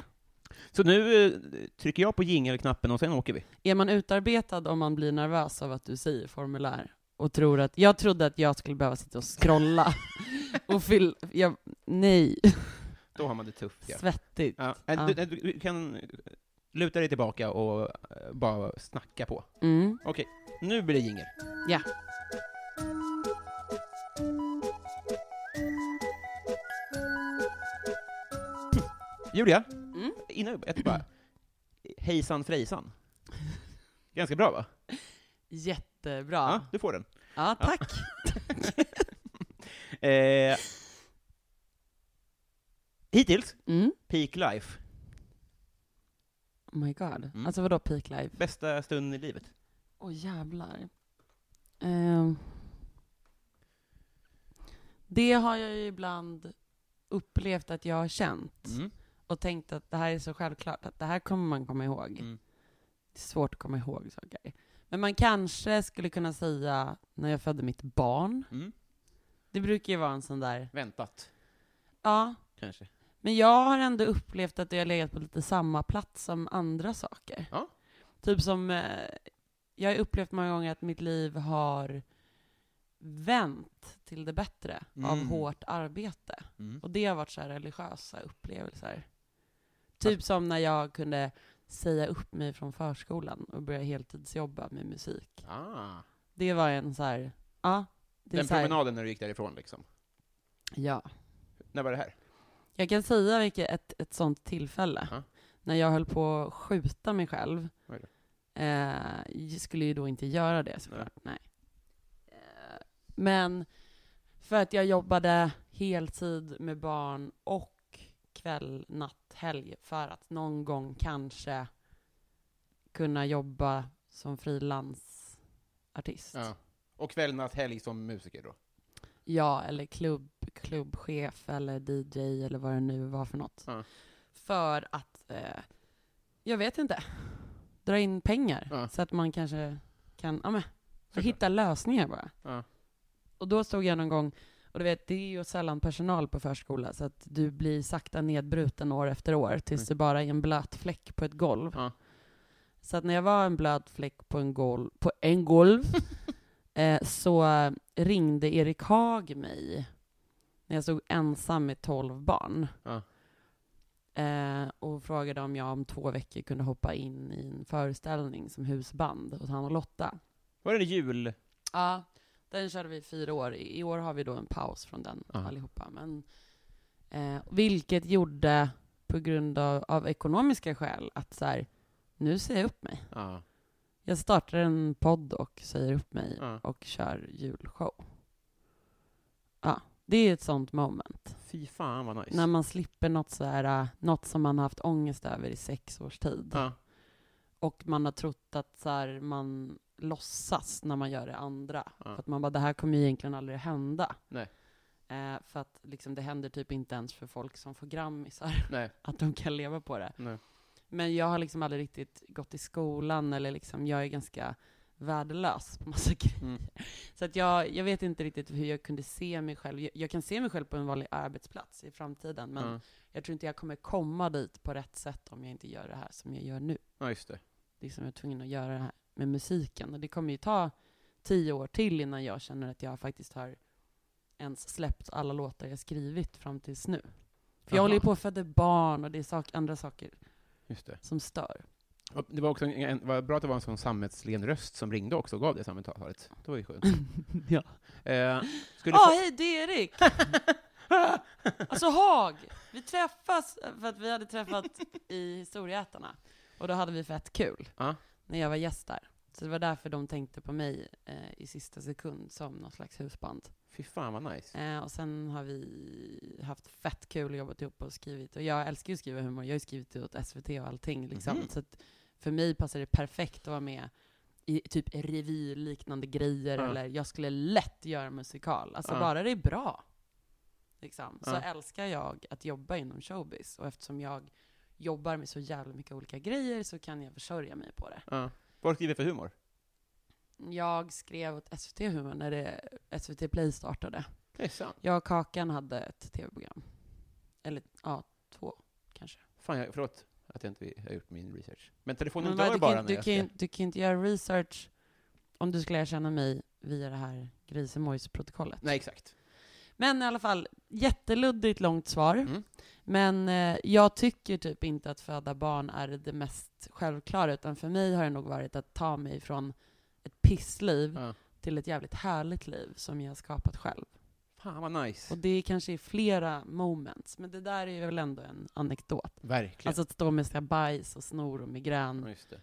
[SPEAKER 4] Så nu eh, trycker jag på jingelknappen och sen åker vi.
[SPEAKER 5] Är man utarbetad om man blir nervös av att du säger formulär? Och tror att, jag trodde att jag skulle behöva sitta och scrolla och fylla, jag, nej,
[SPEAKER 4] Då har man det tufft, ja.
[SPEAKER 5] svettigt.
[SPEAKER 4] ja. eh, Du, eh, du, du kan luta dig tillbaka och eh, bara snacka på.
[SPEAKER 5] Mm.
[SPEAKER 4] Okej, nu blir det jingel.
[SPEAKER 5] Ja.
[SPEAKER 4] Julia,
[SPEAKER 5] Mm.
[SPEAKER 4] innan jag bara... Hejsan frejsan. Ganska bra va?
[SPEAKER 5] Jättebra.
[SPEAKER 4] Ja, du får den.
[SPEAKER 5] Ja,
[SPEAKER 4] Ja.
[SPEAKER 5] tack.
[SPEAKER 4] Eh, hittills,
[SPEAKER 5] Mm.
[SPEAKER 4] peak life.
[SPEAKER 5] Oh my god.
[SPEAKER 4] Mm.
[SPEAKER 5] Alltså vadå peak life?
[SPEAKER 4] Bästa stunden i livet.
[SPEAKER 5] Åh jävlar. Ehm. det har jag ju ibland upplevt att jag har känt
[SPEAKER 4] Mm.
[SPEAKER 5] och tänkt att det här är så självklart att det här kommer man komma ihåg.
[SPEAKER 4] Mm.
[SPEAKER 5] Det är svårt att komma ihåg saker. Men man kanske skulle kunna säga när jag födde mitt barn.
[SPEAKER 4] Mm.
[SPEAKER 5] Det brukar ju vara en sån där,
[SPEAKER 4] Väntat,
[SPEAKER 5] ja.
[SPEAKER 4] kanske.
[SPEAKER 5] Men jag har ändå upplevt att jag har legat på lite samma plats som andra saker.
[SPEAKER 4] Ja.
[SPEAKER 5] Typ som, eh, jag har upplevt många gånger att mitt liv har vänt till det bättre av
[SPEAKER 4] Mm.
[SPEAKER 5] hårt arbete.
[SPEAKER 4] Mm.
[SPEAKER 5] Och det har varit så här religiösa upplevelser. Typ som när jag kunde säga upp mig från förskolan och börja heltidsjobba med musik.
[SPEAKER 4] Ah,
[SPEAKER 5] Det var en så här, ja. Det är
[SPEAKER 4] den
[SPEAKER 5] så här,
[SPEAKER 4] promenaden när du gick därifrån liksom.
[SPEAKER 5] ja.
[SPEAKER 4] När var det här?
[SPEAKER 5] Jag kan säga vilket ett, ett sånt tillfälle.
[SPEAKER 4] Ja.
[SPEAKER 5] När jag höll på att skjuta mig själv.
[SPEAKER 4] Oj då.
[SPEAKER 5] Eh, jag skulle ju då inte göra det såklart. Nej. Eh, men för att jag jobbade heltid med barn och kväll, natt, helg för att någon gång kanske kunna jobba som frilansartist.
[SPEAKER 4] Ja. Och kväll, natt, helg som musiker då?
[SPEAKER 5] Ja, eller klubb, klubbchef eller DJ eller vad det nu var för något.
[SPEAKER 4] Ja.
[SPEAKER 5] För att, eh, jag vet inte, dra in pengar
[SPEAKER 4] Ja.
[SPEAKER 5] så att man kanske kan ja, men,
[SPEAKER 4] Såklart.
[SPEAKER 5] hitta lösningar bara.
[SPEAKER 4] Ja.
[SPEAKER 5] Och då stod jag någon gång, och du vet, det är ju sällan personal på förskola så att du blir sakta nedbruten år efter år tills
[SPEAKER 4] Mm.
[SPEAKER 5] du bara är en blöt fläck på ett golv.
[SPEAKER 4] Ja.
[SPEAKER 5] Så att när jag var en blöt fläck på en golv, på en golv eh, så ringde Erik Haag mig när jag stod ensam med tolv barn.
[SPEAKER 4] Ja.
[SPEAKER 5] Eh, och frågade om jag om två veckor kunde hoppa in i en föreställning som husband hos han och Lotta.
[SPEAKER 4] Var det jul?
[SPEAKER 5] Ja, den körde vi i fyra år. I i år har vi då en paus från den
[SPEAKER 4] Ja.
[SPEAKER 5] allihopa. Men, eh, vilket gjorde, på grund av, av ekonomiska skäl, att så här, nu säger jag upp mig.
[SPEAKER 4] Ja.
[SPEAKER 5] Jag startar en podd och säger upp mig
[SPEAKER 4] Ja.
[SPEAKER 5] och kör julshow. Ja, det är ett sånt moment.
[SPEAKER 4] Fy fan vad nice.
[SPEAKER 5] När man slipper något, så här, eh, något som man har haft ångest över i sex års tid.
[SPEAKER 4] ja.
[SPEAKER 5] Och man har trott att så här, man låtsas när man gör det andra.
[SPEAKER 4] Ja.
[SPEAKER 5] För att man bara, det här kommer ju egentligen aldrig hända.
[SPEAKER 4] Nej.
[SPEAKER 5] Eh, för att liksom, det händer typ inte ens för folk som får grammisar,
[SPEAKER 4] Nej.
[SPEAKER 5] att de kan leva på det.
[SPEAKER 4] Nej.
[SPEAKER 5] Men jag har liksom aldrig riktigt gått i skolan, eller liksom, jag är ganska värdelös på massa grejer.
[SPEAKER 4] Mm.
[SPEAKER 5] Så att jag, jag vet inte riktigt hur jag kunde se mig själv. Jag, jag kan se mig själv på en vanlig arbetsplats i framtiden, men
[SPEAKER 4] Ja.
[SPEAKER 5] jag tror inte jag kommer komma dit på rätt sätt om jag inte gör det här som jag gör nu
[SPEAKER 4] ja, just det.
[SPEAKER 5] liksom jag är tvungen att göra det här med musiken. Och det kommer ju ta tio år till innan jag känner att jag faktiskt har ens släppt alla låtar jag skrivit fram tills nu. För jag
[SPEAKER 4] Jaha.
[SPEAKER 5] håller ju på att föda barn och det är sak, andra saker
[SPEAKER 4] Just det.
[SPEAKER 5] som stör.
[SPEAKER 4] Och det var också en, en, var bra att det var en sån sammetslen röst som ringde också och gav det samtalet. Det var ju skönt.
[SPEAKER 5] Ja.
[SPEAKER 4] Eh, skulle
[SPEAKER 5] Ja,
[SPEAKER 4] få-
[SPEAKER 5] Ah, hej det är Erik! alltså Haag! Vi träffas för att vi hade träffat i Historieätarna. Och då hade vi fett kul.
[SPEAKER 4] Ja.
[SPEAKER 5] När jag var gäst där. Så det var därför de tänkte på mig eh, i sista sekund som någon slags husband.
[SPEAKER 4] Fy fan vad nice.
[SPEAKER 5] Eh, och sen har vi haft fett kul och jobbat ihop och skrivit. Och jag älskar ju att skriva humor. Jag har ju skrivit åt SVT och allting. Liksom.
[SPEAKER 4] Mhm.
[SPEAKER 5] Så att för mig passar det perfekt att vara med i typ revyliknande grejer.
[SPEAKER 4] Ja.
[SPEAKER 5] Eller jag skulle lätt göra musikal. Alltså
[SPEAKER 4] Ja.
[SPEAKER 5] bara det är bra. Liksom. Så
[SPEAKER 4] Ja.
[SPEAKER 5] älskar jag att jobba inom showbiz. Och eftersom jag jobbar med så jävla mycket olika grejer så kan jag försörja mig på det.
[SPEAKER 4] Ja. Vad skriver du för humor?
[SPEAKER 5] Jag skrev åt SVT Humor när det, SVT Play startade.
[SPEAKER 4] Det är sant.
[SPEAKER 5] Jag och Kakan hade ett tv-program. Eller ja, två kanske.
[SPEAKER 4] Fan, jag, förlåt att jag inte har gjort min research. Men telefonen
[SPEAKER 5] Men vad,
[SPEAKER 4] dör
[SPEAKER 5] du,
[SPEAKER 4] bara
[SPEAKER 5] kan,
[SPEAKER 4] när
[SPEAKER 5] du,
[SPEAKER 4] jag
[SPEAKER 5] kan,
[SPEAKER 4] ska...
[SPEAKER 5] ju- du kan ju inte göra research om du skulle erkänna mig via det här grisemojs-protokollet.
[SPEAKER 4] Nej, exakt.
[SPEAKER 5] Men i alla fall, jätteluddigt långt svar.
[SPEAKER 4] Mm.
[SPEAKER 5] Men eh, jag tycker typ inte att föda barn är det mest självklara, utan för mig har det nog varit att ta mig från ett pissliv
[SPEAKER 4] Ja.
[SPEAKER 5] till ett jävligt härligt liv som jag har skapat själv.
[SPEAKER 4] Fan vad nice.
[SPEAKER 5] Och det kanske är flera moments, men det där är väl ändå en anekdot.
[SPEAKER 4] Verkligen.
[SPEAKER 5] Alltså att stå med sina bajs och snor och migrän.
[SPEAKER 4] Ja, just det.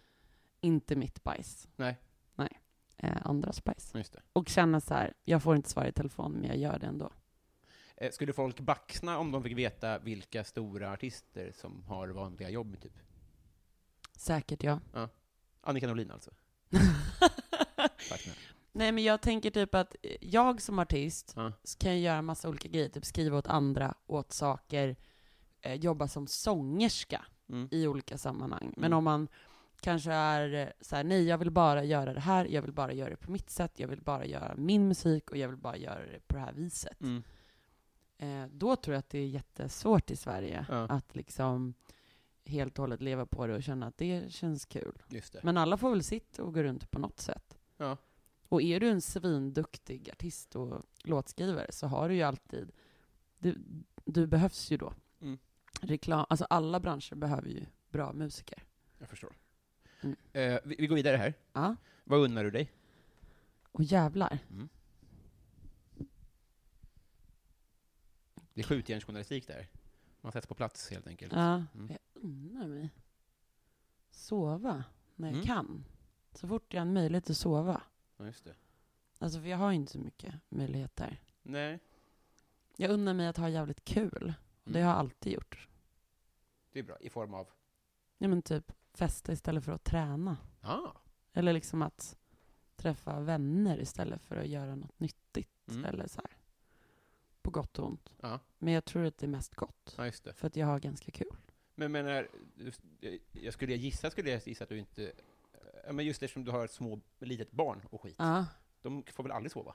[SPEAKER 5] Inte mitt bajs.
[SPEAKER 4] Nej.
[SPEAKER 5] Nej. Eh, andras bajs.
[SPEAKER 4] Ja, Just det.
[SPEAKER 5] Och känna så här, jag får inte svara i telefon, men jag gör det ändå.
[SPEAKER 4] Eh, Skulle folk baxna om de fick veta vilka stora artister som har vanliga jobb, typ?
[SPEAKER 5] Säkert ja.
[SPEAKER 4] Annika Norlin alltså? Baxna.
[SPEAKER 5] Nej men jag tänker typ att jag som artist
[SPEAKER 4] Ja.
[SPEAKER 5] så kan jag göra massa olika grejer, typ skriva åt andra, åt saker, eh, jobba som sångerska
[SPEAKER 4] Mm.
[SPEAKER 5] i olika sammanhang. Men
[SPEAKER 4] Mm.
[SPEAKER 5] om man kanske är eh, så här, nej jag vill bara göra det här, jag vill bara göra det på mitt sätt, jag vill bara göra min musik och jag vill bara göra det på det här viset.
[SPEAKER 4] Mm.
[SPEAKER 5] Eh, då tror jag att det är jättesvårt i Sverige
[SPEAKER 4] Ja.
[SPEAKER 5] att liksom helt och hållet leva på det och känna att det känns kul.
[SPEAKER 4] Just det.
[SPEAKER 5] Men alla får väl sitt och gå runt på något sätt.
[SPEAKER 4] Ja.
[SPEAKER 5] Och är du en svinduktig artist och låtskrivare så har du ju alltid, du, du behövs ju då.
[SPEAKER 4] Mm.
[SPEAKER 5] Reklam, alltså alla branscher behöver ju bra musiker.
[SPEAKER 4] Jag förstår.
[SPEAKER 5] Mm.
[SPEAKER 4] Eh, vi, vi går vidare här.
[SPEAKER 5] Ja.
[SPEAKER 4] Vad unnar du dig?
[SPEAKER 5] Och jävlar.
[SPEAKER 4] Det är skjutjärnsjournalistik där. Man sätts på plats helt enkelt.
[SPEAKER 5] Ja.
[SPEAKER 4] Mm.
[SPEAKER 5] Jag unnar mig sova när jag
[SPEAKER 4] Mm.
[SPEAKER 5] kan. Så fort jag har en möjlighet att sova.
[SPEAKER 4] Ja, just det.
[SPEAKER 5] Alltså för jag har ju inte så mycket möjligheter.
[SPEAKER 4] Nej,
[SPEAKER 5] Jag unnar mig att ha jävligt kul. Och
[SPEAKER 4] Mm.
[SPEAKER 5] Det har jag alltid gjort.
[SPEAKER 4] det är bra. I form av?
[SPEAKER 5] Ja men typ festa istället för att träna.
[SPEAKER 4] Ah.
[SPEAKER 5] Eller liksom att träffa vänner istället för att göra något nyttigt.
[SPEAKER 4] Mm.
[SPEAKER 5] Eller så här. På gott och ont.
[SPEAKER 4] Ja.
[SPEAKER 5] Men jag tror att det är mest gott.
[SPEAKER 4] Ja, just det.
[SPEAKER 5] För att jag har ganska kul.
[SPEAKER 4] Men menar, du- jag skulle gissa, skulle jag gissa att du inte... eh, Ja, men just eftersom du har ett små, litet barn och skit.
[SPEAKER 5] Ja.
[SPEAKER 4] De får väl aldrig sova?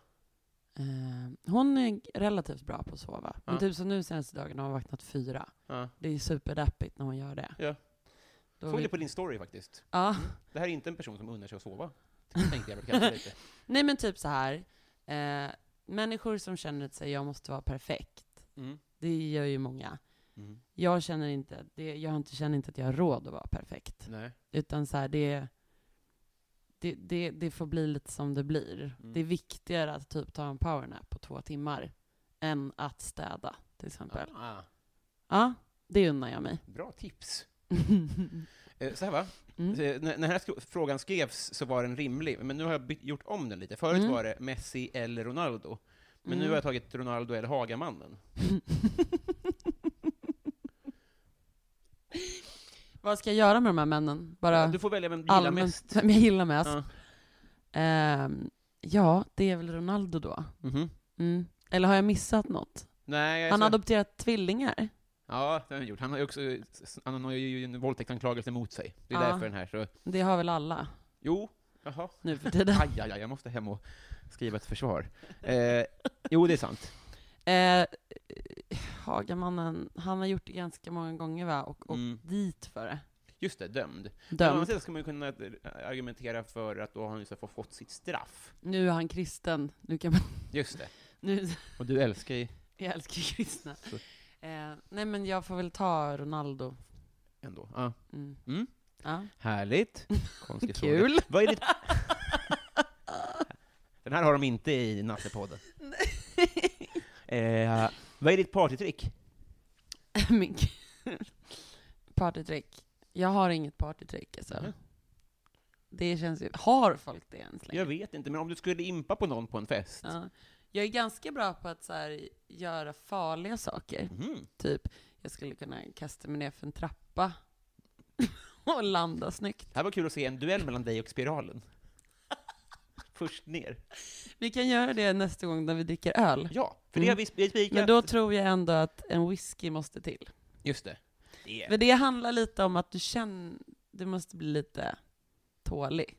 [SPEAKER 5] Eh, hon är relativt bra på att sova. Men
[SPEAKER 4] Ja.
[SPEAKER 5] typ som nu senaste dagen har hon vaknat fyra.
[SPEAKER 4] Ja.
[SPEAKER 5] Det är superdeppigt när hon gör det.
[SPEAKER 4] Ja.
[SPEAKER 5] Då
[SPEAKER 4] Såg
[SPEAKER 5] vill-
[SPEAKER 4] det på Mm. din story faktiskt.
[SPEAKER 5] Ja.
[SPEAKER 4] Det här är inte en person som unnar sig att sova. Tänkte jag väl kanske lite.
[SPEAKER 5] Nej men typ så här. Eh, människor som känner att sig, jag måste vara perfekt.
[SPEAKER 4] Mm.
[SPEAKER 5] Det gör ju många.
[SPEAKER 4] Mm.
[SPEAKER 5] Jag känner inte, att det, jag har inte, känner inte att jag har råd att vara perfekt.
[SPEAKER 4] Nej.
[SPEAKER 5] Utan så här, det, det, det, det får bli lite som det blir.
[SPEAKER 4] Mm.
[SPEAKER 5] Det är viktigare att typ ta en powernap på två timmar än att städa, till exempel. Ja,
[SPEAKER 4] Ah,
[SPEAKER 5] det unnar jag mig.
[SPEAKER 4] bra tips. Eh, Så här va?
[SPEAKER 5] Mm.
[SPEAKER 4] Eh, När när den här skro- frågan skrevs så var den rimlig, men nu har jag bytt, gjort om den lite. Förut
[SPEAKER 5] Mm.
[SPEAKER 4] var det Messi eller Ronaldo, men nu
[SPEAKER 5] Mm.
[SPEAKER 4] har jag tagit Ronaldo eller Hagamannen.
[SPEAKER 5] Vad ska jag göra med de här männen? Bara
[SPEAKER 4] Du får välja vem du gillar
[SPEAKER 5] allmänt,
[SPEAKER 4] mest.
[SPEAKER 5] vem jag gillar mest?
[SPEAKER 4] Ja.
[SPEAKER 5] Ehm, ja, det är väl Ronaldo då.
[SPEAKER 4] Mhm.
[SPEAKER 5] Mm. Eller har jag missat något?
[SPEAKER 4] Nej, jag
[SPEAKER 5] Han
[SPEAKER 4] sa-
[SPEAKER 5] har adopterat tvillingar.
[SPEAKER 4] Ja, det har han gjort. Han har ju också han har ju en våldtäktsanklagelse mot sig. Det är
[SPEAKER 5] Ja.
[SPEAKER 4] därför den här så...
[SPEAKER 5] Det har väl alla
[SPEAKER 4] Jo, jaha.
[SPEAKER 5] nu för tiden.
[SPEAKER 4] Aj, aj, aj, jag måste hem och skriva ett försvar. Eh, jo, det är sant.
[SPEAKER 5] Eh, Hagamannen, han har gjort det ganska många gånger va? Och, och
[SPEAKER 4] Mm.
[SPEAKER 5] dit för det.
[SPEAKER 4] Just det, dömd. Men å andra
[SPEAKER 5] Dömd.
[SPEAKER 4] sidan ska man ju kunna eh, argumentera för att då har han ju så få- fått sitt straff.
[SPEAKER 5] Nu är han kristen. Nu kan man,
[SPEAKER 4] Just det.
[SPEAKER 5] nu,
[SPEAKER 4] Och du älskar ju
[SPEAKER 5] jag älskar ju kristna.
[SPEAKER 4] Så.
[SPEAKER 5] Eh, nej men jag får väl ta Ronaldo.
[SPEAKER 4] ändå. Ja.
[SPEAKER 5] Mm.
[SPEAKER 4] Mm.
[SPEAKER 5] Ja.
[SPEAKER 4] Härligt. Konstig fråga.
[SPEAKER 5] Kul.
[SPEAKER 4] Vad är ditt... Den här har de inte i Nattepodden. Eh, vad är ditt partytrick?
[SPEAKER 5] Min
[SPEAKER 4] Mm.
[SPEAKER 5] kul. Partytrick. Jag har inget partytrick alltså.
[SPEAKER 4] Mhm.
[SPEAKER 5] Det känns ju, har folk det ens längre?
[SPEAKER 4] Jag vet inte, men om du skulle impa på någon på en fest?
[SPEAKER 5] Ja. Jag är ganska bra på att så här, göra farliga saker.
[SPEAKER 4] Mhm.
[SPEAKER 5] Typ, jag skulle kunna kasta mig ner för en trappa och landa snyggt.
[SPEAKER 4] Det här var kul att se en duell mellan dig och spiralen. Först ner.
[SPEAKER 5] Vi kan göra det nästa gång när vi dricker öl.
[SPEAKER 4] Ja, för det
[SPEAKER 5] Mm.
[SPEAKER 4] har vi sp- vi spikat.
[SPEAKER 5] Men då tror jag ändå att en whisky måste till.
[SPEAKER 4] Just det. det är...
[SPEAKER 5] För det handlar lite om att du känner, du måste bli lite tålig,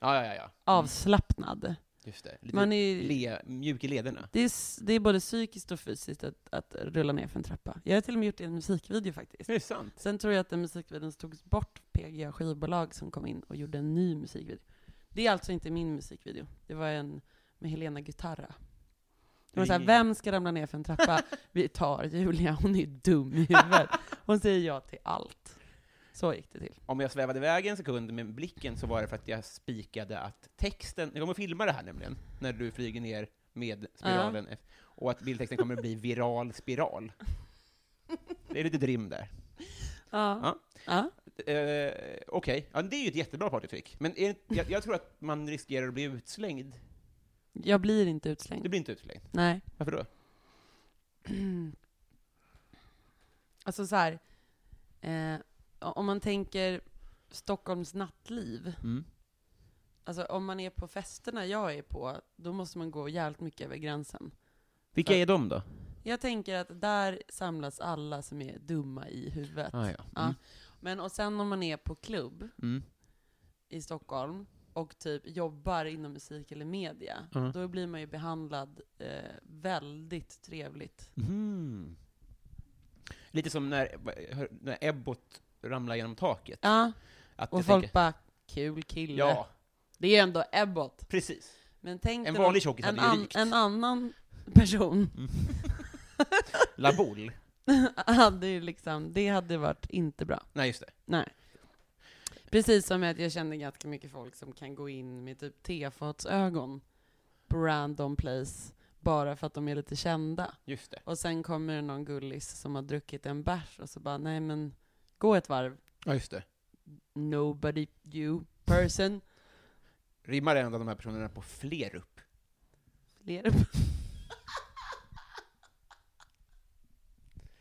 [SPEAKER 4] Ja, ja, ja, ja.
[SPEAKER 5] avslappnad.
[SPEAKER 4] Just det. Lite
[SPEAKER 5] Man är,
[SPEAKER 4] le... mjuk i lederna.
[SPEAKER 5] det, är, s- det är både psykiskt och fysiskt att, att rulla ner för en trappa. Jag har till och med gjort det i en musikvideo faktiskt.
[SPEAKER 4] Det är sant.
[SPEAKER 5] Sen tror jag att den musikvideon togs bort, PGA skivbolag som kom in och gjorde en ny musikvideo. Det är alltså inte min musikvideo. Det var en med Helena Guitarra. Det var såhär,
[SPEAKER 4] Ring-
[SPEAKER 5] vem ska ramla ner för en trappa? Vi tar Julia, hon är dum i huvudet. Hon säger ja till allt. Så gick det till.
[SPEAKER 4] Om jag svävade iväg en sekund med blicken så var det för att jag spikade att texten, jag kommer att filma det här nämligen, när du flyger ner med spiralen, eft- och att bildtexten kommer att bli viral spiral. Det är lite rim där.
[SPEAKER 5] Ja.
[SPEAKER 4] Ja. Eh, Okej, ja, det är ju ett jättebra partytrick, men är, jag, jag tror att man riskerar att bli utslängd.
[SPEAKER 5] Jag blir inte
[SPEAKER 4] Du
[SPEAKER 5] utslängd.
[SPEAKER 4] blir inte utslängd.
[SPEAKER 5] Nej.
[SPEAKER 4] Varför då?
[SPEAKER 5] Alltså så här, eh, om man tänker Stockholms nattliv.
[SPEAKER 4] Mm.
[SPEAKER 5] Alltså om man är på festerna jag är på, då måste man gå jävligt mycket över gränsen.
[SPEAKER 4] Vilka är de då?
[SPEAKER 5] Jag tänker att där samlas alla som är dumma i huvudet.
[SPEAKER 4] Ah, ja.
[SPEAKER 5] Ja.
[SPEAKER 4] Mm.
[SPEAKER 5] Men och sen om man är på klubb
[SPEAKER 4] Mm.
[SPEAKER 5] i Stockholm och typ jobbar inom musik eller media,
[SPEAKER 4] Ja.
[SPEAKER 5] då blir man ju behandlad eh, väldigt trevligt.
[SPEAKER 4] Mhm. Lite som när, hör- när Ebbot ramlar genom taket.
[SPEAKER 5] Ja,
[SPEAKER 4] Att
[SPEAKER 5] och
[SPEAKER 4] jag
[SPEAKER 5] folk
[SPEAKER 4] tänker,
[SPEAKER 5] bara, kul kille.
[SPEAKER 4] Ja,
[SPEAKER 5] Det är ju ändå Ebbot.
[SPEAKER 4] precis.
[SPEAKER 5] Men tänk
[SPEAKER 4] En
[SPEAKER 5] dig
[SPEAKER 4] vanlig
[SPEAKER 5] någon-
[SPEAKER 4] tjockis
[SPEAKER 5] en,
[SPEAKER 4] hade ju
[SPEAKER 5] an-
[SPEAKER 4] rykt.
[SPEAKER 5] en annan person
[SPEAKER 4] La Boule.
[SPEAKER 5] hade ju liksom, det hade varit inte bra.
[SPEAKER 4] Nej, just det.
[SPEAKER 5] Nej. Precis som att jag känner ganska mycket folk som kan gå in med typ tefatsögon på random place bara för att de är lite kända.
[SPEAKER 4] Just det.
[SPEAKER 5] Och sen kommer det någon gullis som har druckit en bärs och så bara nej men gå ett varv,
[SPEAKER 4] Ja, just det.
[SPEAKER 5] nobody you person.
[SPEAKER 4] Rimmar en av de här personerna på Flerup?
[SPEAKER 5] Ler.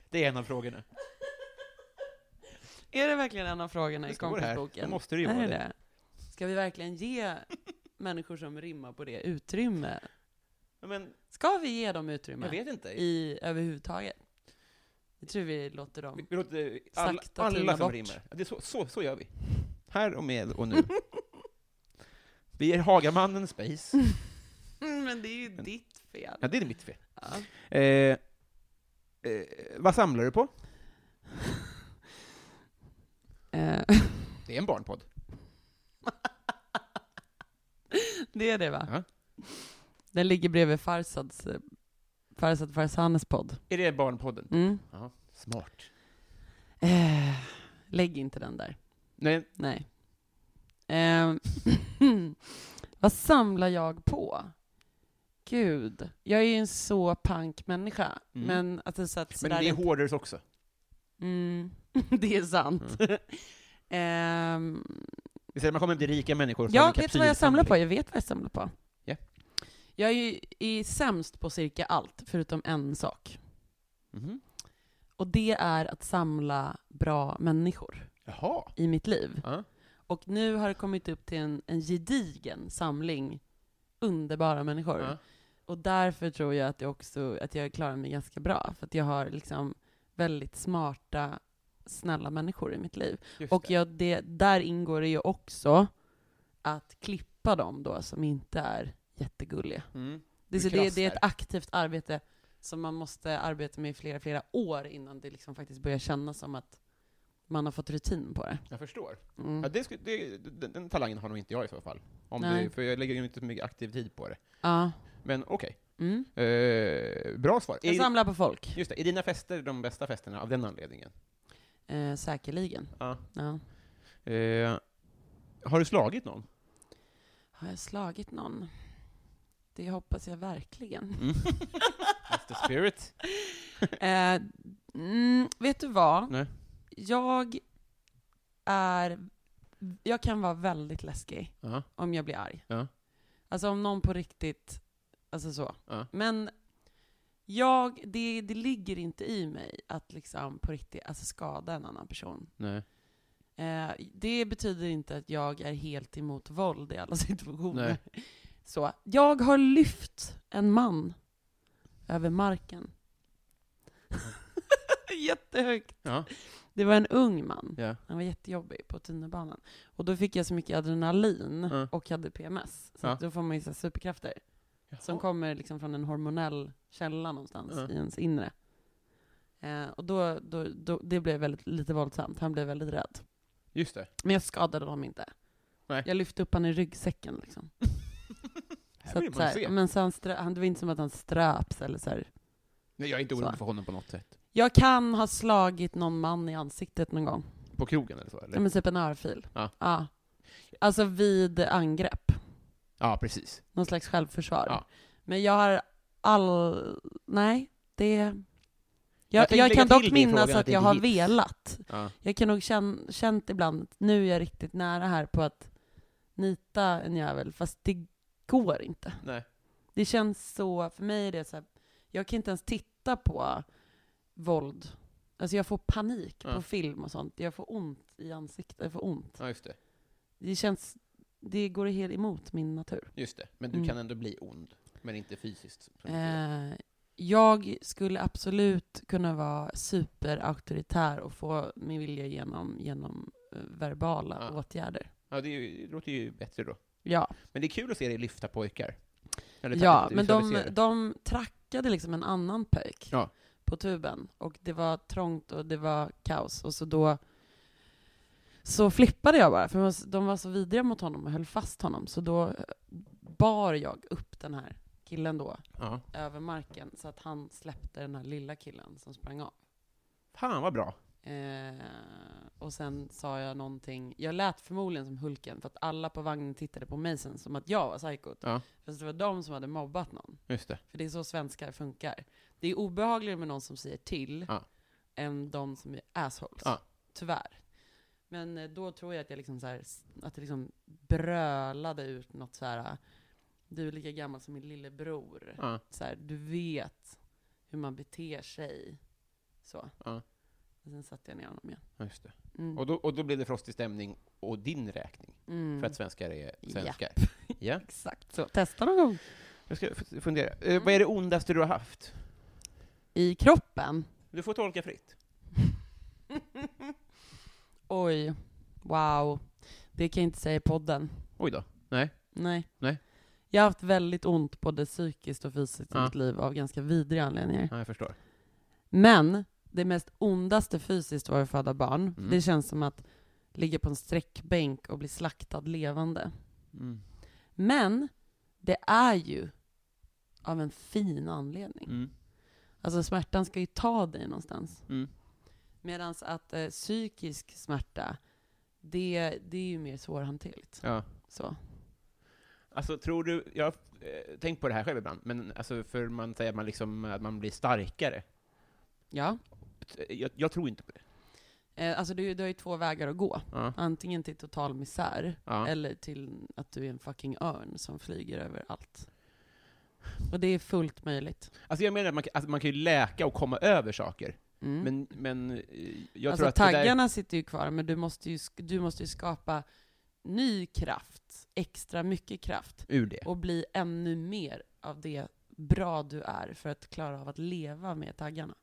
[SPEAKER 4] Det är en av frågorna.
[SPEAKER 5] Är det verkligen en av frågorna i
[SPEAKER 4] Det står här. Då
[SPEAKER 5] kompisboken?
[SPEAKER 4] måste det ju
[SPEAKER 5] Är
[SPEAKER 4] vara
[SPEAKER 5] det
[SPEAKER 4] det.
[SPEAKER 5] det? Ska vi verkligen ge människor som rimmar på det utrymme?
[SPEAKER 4] Ja, Men
[SPEAKER 5] Ska vi ge dem
[SPEAKER 4] jag
[SPEAKER 5] utrymme
[SPEAKER 4] vet inte.
[SPEAKER 5] i överhuvudtaget? Jag tror vi låter dem
[SPEAKER 4] Vi, vi låter alla,
[SPEAKER 5] Sakta
[SPEAKER 4] alla
[SPEAKER 5] tyna
[SPEAKER 4] som
[SPEAKER 5] bort.
[SPEAKER 4] rimmar. Ja, Det är så, så, så gör vi. Här och med och nu. Vi ger Hagamannen space.
[SPEAKER 5] Mm, Men det är ju
[SPEAKER 4] Men-
[SPEAKER 5] ditt fel.
[SPEAKER 4] Ja, det är mitt fel.
[SPEAKER 5] Ja.
[SPEAKER 4] Eh, eh, vad samlar du på?
[SPEAKER 5] Eh,
[SPEAKER 4] Det är en barnpodd.
[SPEAKER 5] det är det va?
[SPEAKER 4] Ja.
[SPEAKER 5] Den ligger bredvid Farsads, eh, Farsad Farsanes podd.
[SPEAKER 4] Är det barnpodden?
[SPEAKER 5] Mm.
[SPEAKER 4] Ja, smart.
[SPEAKER 5] Eh, lägg inte den där.
[SPEAKER 4] Nej,
[SPEAKER 5] Nej. Eh, vad samlar jag på? Gud, jag är ju en så pank människa.
[SPEAKER 4] Mm.
[SPEAKER 5] Men att det så att
[SPEAKER 4] men
[SPEAKER 5] sådär
[SPEAKER 4] det är
[SPEAKER 5] inte-
[SPEAKER 4] hårders också.
[SPEAKER 5] mm, det är sant.
[SPEAKER 4] Mm.
[SPEAKER 5] Ehm,
[SPEAKER 4] Vi säger man kommer till rika människor som
[SPEAKER 5] Ja,
[SPEAKER 4] en
[SPEAKER 5] vet du vad jag samlar på?
[SPEAKER 4] kapsylsamling.
[SPEAKER 5] Jag vet vad jag samlar på.
[SPEAKER 4] Ja.
[SPEAKER 5] Jag är ju är sämst på cirka allt, förutom en sak.
[SPEAKER 4] Mhm.
[SPEAKER 5] Och det är att samla bra människor
[SPEAKER 4] Jaha.
[SPEAKER 5] i mitt liv.
[SPEAKER 4] Ja.
[SPEAKER 5] Och nu har det kommit upp till en, en gedigen samling underbara människor.
[SPEAKER 4] Ja.
[SPEAKER 5] Och därför tror jag att jag också att jag klarar mig ganska bra. För att jag har liksom väldigt smarta, snälla människor i mitt liv.
[SPEAKER 4] Just
[SPEAKER 5] Och
[SPEAKER 4] det.
[SPEAKER 5] ja, det, där ingår det ju också att klippa dem då som inte är jättegulliga.
[SPEAKER 4] Mm.
[SPEAKER 5] Det, är så
[SPEAKER 4] Du
[SPEAKER 5] Alltså, det, det är
[SPEAKER 4] krassar.
[SPEAKER 5] ett aktivt arbete som man måste arbeta med i flera, flera år innan det liksom faktiskt börjar kännas som att man har fått rutin på det.
[SPEAKER 4] Jag förstår.
[SPEAKER 5] Mm.
[SPEAKER 4] Ja, det sku, det, den, den talangen har nog inte jag i så fall. Om
[SPEAKER 5] Nej.
[SPEAKER 4] du, för jag lägger ju inte så mycket aktiv tid på det.
[SPEAKER 5] Ja.
[SPEAKER 4] Men okej.
[SPEAKER 5] Mm.
[SPEAKER 4] Eh, bra svar.
[SPEAKER 5] Jag
[SPEAKER 4] Är,
[SPEAKER 5] samlar på folk,
[SPEAKER 4] just det, är dina fester de bästa festerna av den anledningen?
[SPEAKER 5] eh, säkerligen.
[SPEAKER 4] Ja.
[SPEAKER 5] Ja.
[SPEAKER 4] Eh, har du slagit någon?
[SPEAKER 5] Har jag slagit någon? Det hoppas jag verkligen.
[SPEAKER 4] Mm. Mr Spirit?
[SPEAKER 5] Eh, mm, vet du vad?
[SPEAKER 4] Nej.
[SPEAKER 5] Jag är jag kan vara väldigt läskig
[SPEAKER 4] Ja.
[SPEAKER 5] om jag blir arg.
[SPEAKER 4] Ja.
[SPEAKER 5] Alltså om någon på riktigt, alltså så.
[SPEAKER 4] Ja.
[SPEAKER 5] Men jag, det, det ligger inte i mig att liksom på riktigt alltså skada en annan person.
[SPEAKER 4] Nej.
[SPEAKER 5] Eh, det betyder inte att jag är helt emot våld i alla situationer. Så, jag har lyft en man över marken. Jättehögt.
[SPEAKER 4] Ja.
[SPEAKER 5] Det var en ung man.
[SPEAKER 4] Ja.
[SPEAKER 5] Han var jättejobbig på tunnelbanan. Och då fick jag så mycket adrenalin
[SPEAKER 4] Ja.
[SPEAKER 5] och hade PMS. Så
[SPEAKER 4] Ja.
[SPEAKER 5] att då får man ju så här superkrafter. Som kommer liksom från en hormonell källa någonstans
[SPEAKER 4] Ja.
[SPEAKER 5] i ens inre. Eh, och då, då, då, det blev väldigt, lite våldsamt. Han blev väldigt rädd.
[SPEAKER 4] Just det.
[SPEAKER 5] Men jag skadade honom inte.
[SPEAKER 4] Nej.
[SPEAKER 5] Jag lyfte upp honom i ryggsäcken liksom.
[SPEAKER 4] Här
[SPEAKER 5] Så
[SPEAKER 4] vill
[SPEAKER 5] att, så
[SPEAKER 4] man
[SPEAKER 5] här, Mm.
[SPEAKER 4] se.
[SPEAKER 5] men så han strö, han, det var inte som att han ströps eller så här.
[SPEAKER 4] Nej, jag är inte
[SPEAKER 5] så.
[SPEAKER 4] orolig för honom på något sätt.
[SPEAKER 5] Jag kan ha slagit någon man i ansiktet någon gång.
[SPEAKER 4] På krogen eller så? Eller?
[SPEAKER 5] Ja, men typ en örfil.
[SPEAKER 4] Ja.
[SPEAKER 5] Alltså vid angrepp.
[SPEAKER 4] Ja, precis.
[SPEAKER 5] Någon slags självförsvar.
[SPEAKER 4] Ja.
[SPEAKER 5] Men jag har all... Nej, det... Jag,
[SPEAKER 4] Jag
[SPEAKER 5] jag,
[SPEAKER 4] tänkte lägga
[SPEAKER 5] kan
[SPEAKER 4] till
[SPEAKER 5] dock
[SPEAKER 4] det i
[SPEAKER 5] minnas
[SPEAKER 4] frågan
[SPEAKER 5] att,
[SPEAKER 4] att det
[SPEAKER 5] jag
[SPEAKER 4] inte
[SPEAKER 5] har
[SPEAKER 4] hits.
[SPEAKER 5] velat.
[SPEAKER 4] Ja.
[SPEAKER 5] Jag kan nog kän, känt ibland att nu är jag riktigt nära här på att nita en jävel, fast det går inte.
[SPEAKER 4] Nej.
[SPEAKER 5] Det känns så, för mig är det så här, jag kan inte ens titta på våld. Alltså jag får panik
[SPEAKER 4] Ja.
[SPEAKER 5] på film och sånt. Jag får ont i ansiktet, jag får ont.
[SPEAKER 4] Ja, just det.
[SPEAKER 5] Det känns, det går helt emot min natur.
[SPEAKER 4] Just det. Men du
[SPEAKER 5] Mm.
[SPEAKER 4] kan ändå bli ond. Men inte fysiskt. som du är.
[SPEAKER 5] Eh, jag skulle absolut kunna vara superauktoritär och få min vilja genom, genom eh, verbala
[SPEAKER 4] Ja.
[SPEAKER 5] åtgärder.
[SPEAKER 4] Ja, det, är ju, det låter ju bättre då.
[SPEAKER 5] Ja,
[SPEAKER 4] Men det är kul att se dig lyfta pojkar. Eller
[SPEAKER 5] ja
[SPEAKER 4] visualisera.
[SPEAKER 5] men de, de trackade liksom en annan pöjk
[SPEAKER 4] Ja.
[SPEAKER 5] på tuben och det var trångt och det var kaos och så då så flippade jag bara, för de var så- de var så vidriga mot honom och höll fast honom, så då eh, bar jag upp den här killen då
[SPEAKER 4] Ja.
[SPEAKER 5] över marken så att han släppte den här lilla killen som sprang av.
[SPEAKER 4] Fan vad bra.
[SPEAKER 5] Eh, och sen sa jag någonting, jag lät förmodligen som Hulken för att alla på vagnen tittade på mig sen som att jag var psykot.
[SPEAKER 4] Ja.
[SPEAKER 5] Fast det var de som hade mobbat någon.
[SPEAKER 4] Just det.
[SPEAKER 5] För det är så svenskar funkar. Det är obehagligare med någon som säger till
[SPEAKER 4] Ja.
[SPEAKER 5] än de som är assholes.
[SPEAKER 4] Ja.
[SPEAKER 5] Tyvärr. Men eh, då tror jag att jag liksom så här, s- att jag liksom brölade ut något så här. du är lika gammal som min lillebror
[SPEAKER 4] Ja.
[SPEAKER 5] så här, du vet hur man beter sig. Så.
[SPEAKER 4] Ja.
[SPEAKER 5] Och sen satte jag ner honom igen.
[SPEAKER 4] Ja, Just det.
[SPEAKER 5] Mm.
[SPEAKER 4] Och, då, och då blev det frostig stämning och din räkning.
[SPEAKER 5] mm.
[SPEAKER 4] För att svenskar är
[SPEAKER 5] Ja.
[SPEAKER 4] svenskar. Ja.
[SPEAKER 5] Exakt så. Testa någon gång.
[SPEAKER 4] Jag ska f- fundera. Eh, vad är det ondaste du har haft?
[SPEAKER 5] I kroppen?
[SPEAKER 4] Du får tolka fritt.
[SPEAKER 5] Oj. Wow. Det kan jag inte säga i podden.
[SPEAKER 4] Oj då. Nej.
[SPEAKER 5] Nej.
[SPEAKER 4] Nej.
[SPEAKER 5] Jag har haft väldigt ont både psykiskt och fysiskt i
[SPEAKER 4] Ja.
[SPEAKER 5] mitt liv av ganska vidriga anledningar.
[SPEAKER 4] Ja, jag förstår.
[SPEAKER 5] Men det mest ondaste fysiskt var att föda barn.
[SPEAKER 4] Mm.
[SPEAKER 5] Det känns som att ligga på en sträckbänk och bli slaktad levande.
[SPEAKER 4] Mm.
[SPEAKER 5] Men det är ju av en fin anledning.
[SPEAKER 4] Mm.
[SPEAKER 5] Alltså smärtan ska ju ta dig någonstans.
[SPEAKER 4] Mm.
[SPEAKER 5] Medan att eh, psykisk smärta, det, det är ju mer svårhanterligt.
[SPEAKER 4] Ja.
[SPEAKER 5] Så.
[SPEAKER 4] Alltså, tror du... Jag har eh, tänkt på det här själv ibland, men alltså, för man säger att man, liksom, att man blir starkare.
[SPEAKER 5] Ja.
[SPEAKER 4] T- Jag, jag tror inte på det.
[SPEAKER 5] Eh, alltså du, du har ju två vägar att gå.
[SPEAKER 4] Ja.
[SPEAKER 5] Antingen till total misär,
[SPEAKER 4] Ja.
[SPEAKER 5] eller till att du är en fucking örn som flyger över allt. Och det är fullt möjligt.
[SPEAKER 4] Alltså, jag menar att man, kan- alltså, man kan ju läka och komma över saker,
[SPEAKER 5] Mm.
[SPEAKER 4] men, men eh, jag
[SPEAKER 5] alltså
[SPEAKER 4] tror att det där...
[SPEAKER 5] taggarna sitter ju kvar, men du måste ju, sk- du måste ju skapa ny kraft, extra mycket kraft,
[SPEAKER 4] Ur det.
[SPEAKER 5] och bli ännu mer av det bra du är för att klara av att leva med taggarna.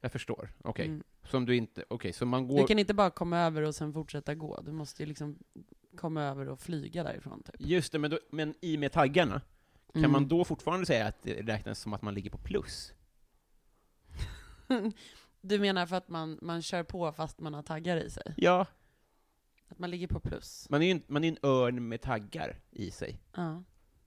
[SPEAKER 4] Jag förstår. Okej.
[SPEAKER 5] Mm.
[SPEAKER 4] Som du inte... Okej, så man går...
[SPEAKER 5] Du kan inte bara komma över och sen fortsätta gå, du måste ju liksom komma över och flyga därifrån typ.
[SPEAKER 4] Just det, men, då, men i med taggarna, kan
[SPEAKER 5] Mm.
[SPEAKER 4] man då fortfarande säga att det räknas som att man ligger på plus?
[SPEAKER 5] Du menar för att man, man kör på fast man har taggar i sig?
[SPEAKER 4] Ja.
[SPEAKER 5] Att man ligger på plus?
[SPEAKER 4] Man är ju en, man är en örn med taggar i sig.
[SPEAKER 5] Ja.